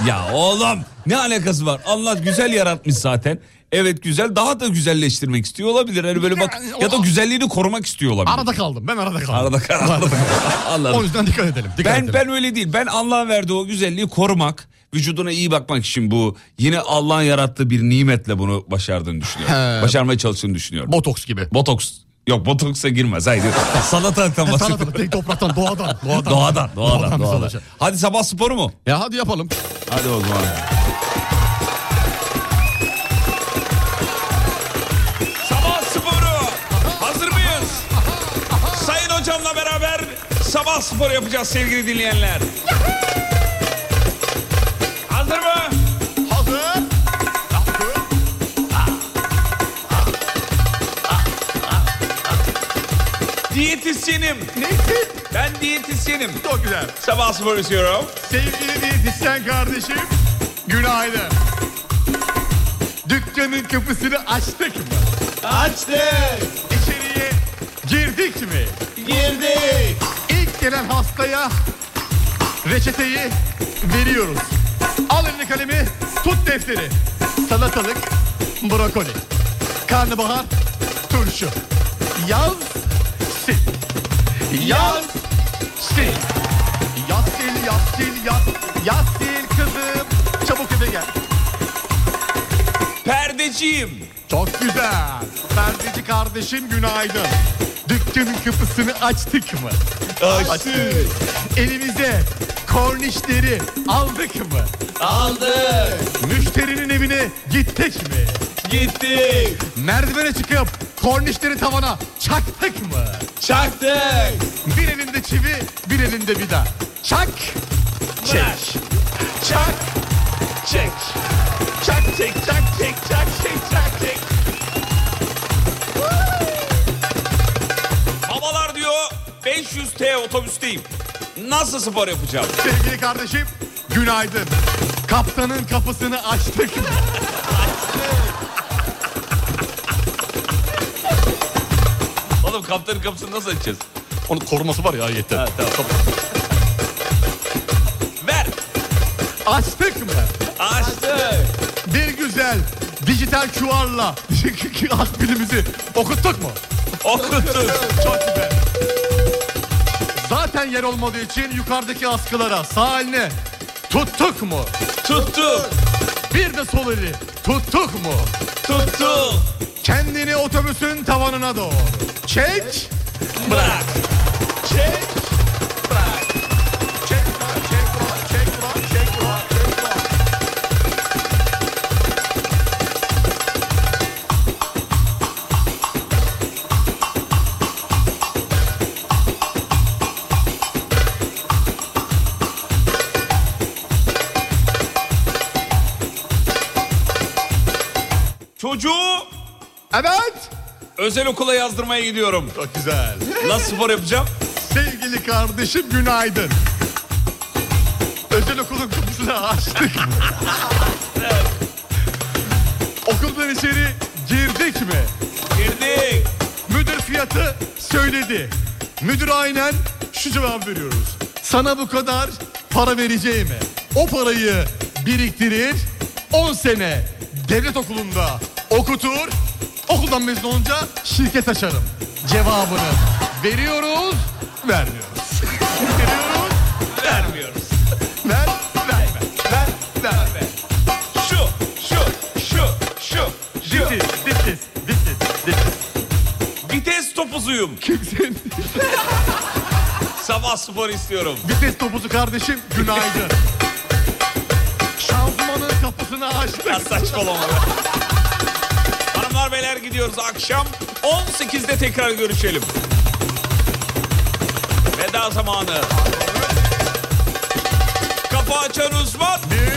D: Ya oğlum ne alakası var? Allah güzel yaratmış zaten. Evet güzel daha da güzelleştirmek istiyor olabilir. Hani böyle bak ya da güzelliğini korumak istiyor olabilir.
G: Arada kaldım. Ben arada kaldım.
D: Arada kal- arada kal- Anladım.
G: O yüzden dikkat edelim. Dikkat
D: ben
G: edelim.
D: ben öyle değil. Ben Allah'ın verdiği o güzelliği korumak, vücuduna iyi bakmak için bu yine Allah'ın yarattığı bir nimetle bunu başardığını düşünüyorum.
G: He.
D: Başarmaya çalıştığını düşünüyorum. Botoks gibi. Botoks. Yok botoksa girmez. Haydi. Salatalıktan
G: Salatalık
D: bahsediyorum.
G: değil, topraktan, doğadan. Doğadan.
D: Doğadan, doğadan,
G: biz
D: doğadan. E,
G: alacağız.
D: Hadi sabah sporu mu?
G: Ya hadi yapalım.
D: Hadi o zaman. Sabah sporu. Hazır mıyız? Sayın hocamla beraber sabah sporu yapacağız sevgili dinleyenler. Hazır mı?
H: Hazır.
D: Diyetisyenim. Nesin? Ben diyetisyenim. Çok güzel. Sabah sporu istiyorum.
N: Sevgili diyetisyen kardeşim, günaydın. Dükkanın kapısını açtık mı? Açtık. İçeriye girdik mi? Girdik. İlk gelen hastaya reçeteyi veriyoruz. Al elini kalemi, tut defteri. Salatalık, brokoli, karnabahar, turşu. Yaz, sil. Yaz, sil. Yaz sil, yaz sil, yaz. Yaz sil kızım. Çabuk eve gel.
D: Perdeciyim.
N: Çok güzel. Perdeci kardeşim günaydın. Dükkanın kapısını açtık mı?
H: Açtık.
N: Elimize kornişleri aldık mı?
H: Aldık.
N: Müşterinin evine gittik mi? Gittik. Merdivene çıkıp kornişleri tavana çaktık mı? Çaktık. Bir elinde çivi, bir elinde vida. Çak, çek. Çak, çek. Çak, çek, çak, çek, çak, çek, çak, çek.
D: Babalar diyor 500T otobüsteyim. Nasıl spor yapacağım?
N: Sevgili kardeşim, günaydın. Kaptanın kapısını açtık mı?
D: Oğlum kaptanın kapısını nasıl açacağız?
G: Onun koruması var ya yeter.
N: Açtık mı?
D: Açtık.
N: Bir güzel dijital QR'la akbilimizi okuttuk mu?
D: Okuttuk.
N: Çok güzel. Zaten yer olmadığı için yukarıdaki askılara sağ eline tuttuk mu?
D: Tuttuk.
N: Bir de sol eli tuttuk mu?
D: Tuttuk.
N: Kendini otobüsün tavanına doğru. Çek. Bırak. Çek.
D: Çocuğu
N: Evet.
D: özel okula yazdırmaya gidiyorum.
N: Çok güzel.
D: Nasıl spor yapacağım?
N: Sevgili kardeşim günaydın. Özel okulun kapısını açtık. Okuldan içeri girdik mi?
D: Girdik.
N: Müdür fiyatı söyledi. Müdür aynen şu cevap veriyoruz. Sana bu kadar para vereceğime o parayı biriktirir 10 sene devlet okulunda okutur okuldan mezun olunca şirket açarım. Cevabını veriyoruz vermiyoruz. veriyoruz
D: vermiyoruz.
N: Ver verme ver verme.
D: Şu şu şu şu şu. This
N: is this is this is this is.
D: Vites topuzuyum.
N: Kimsin?
D: Sabah spor istiyorum.
N: Vites topuzu kardeşim günaydın. Şanzımanın kapısını açtık.
D: Ya saçmalama be. Hanımlar beyler gidiyoruz akşam 18'de tekrar görüşelim. Veda zamanı. Kafa açan uzman.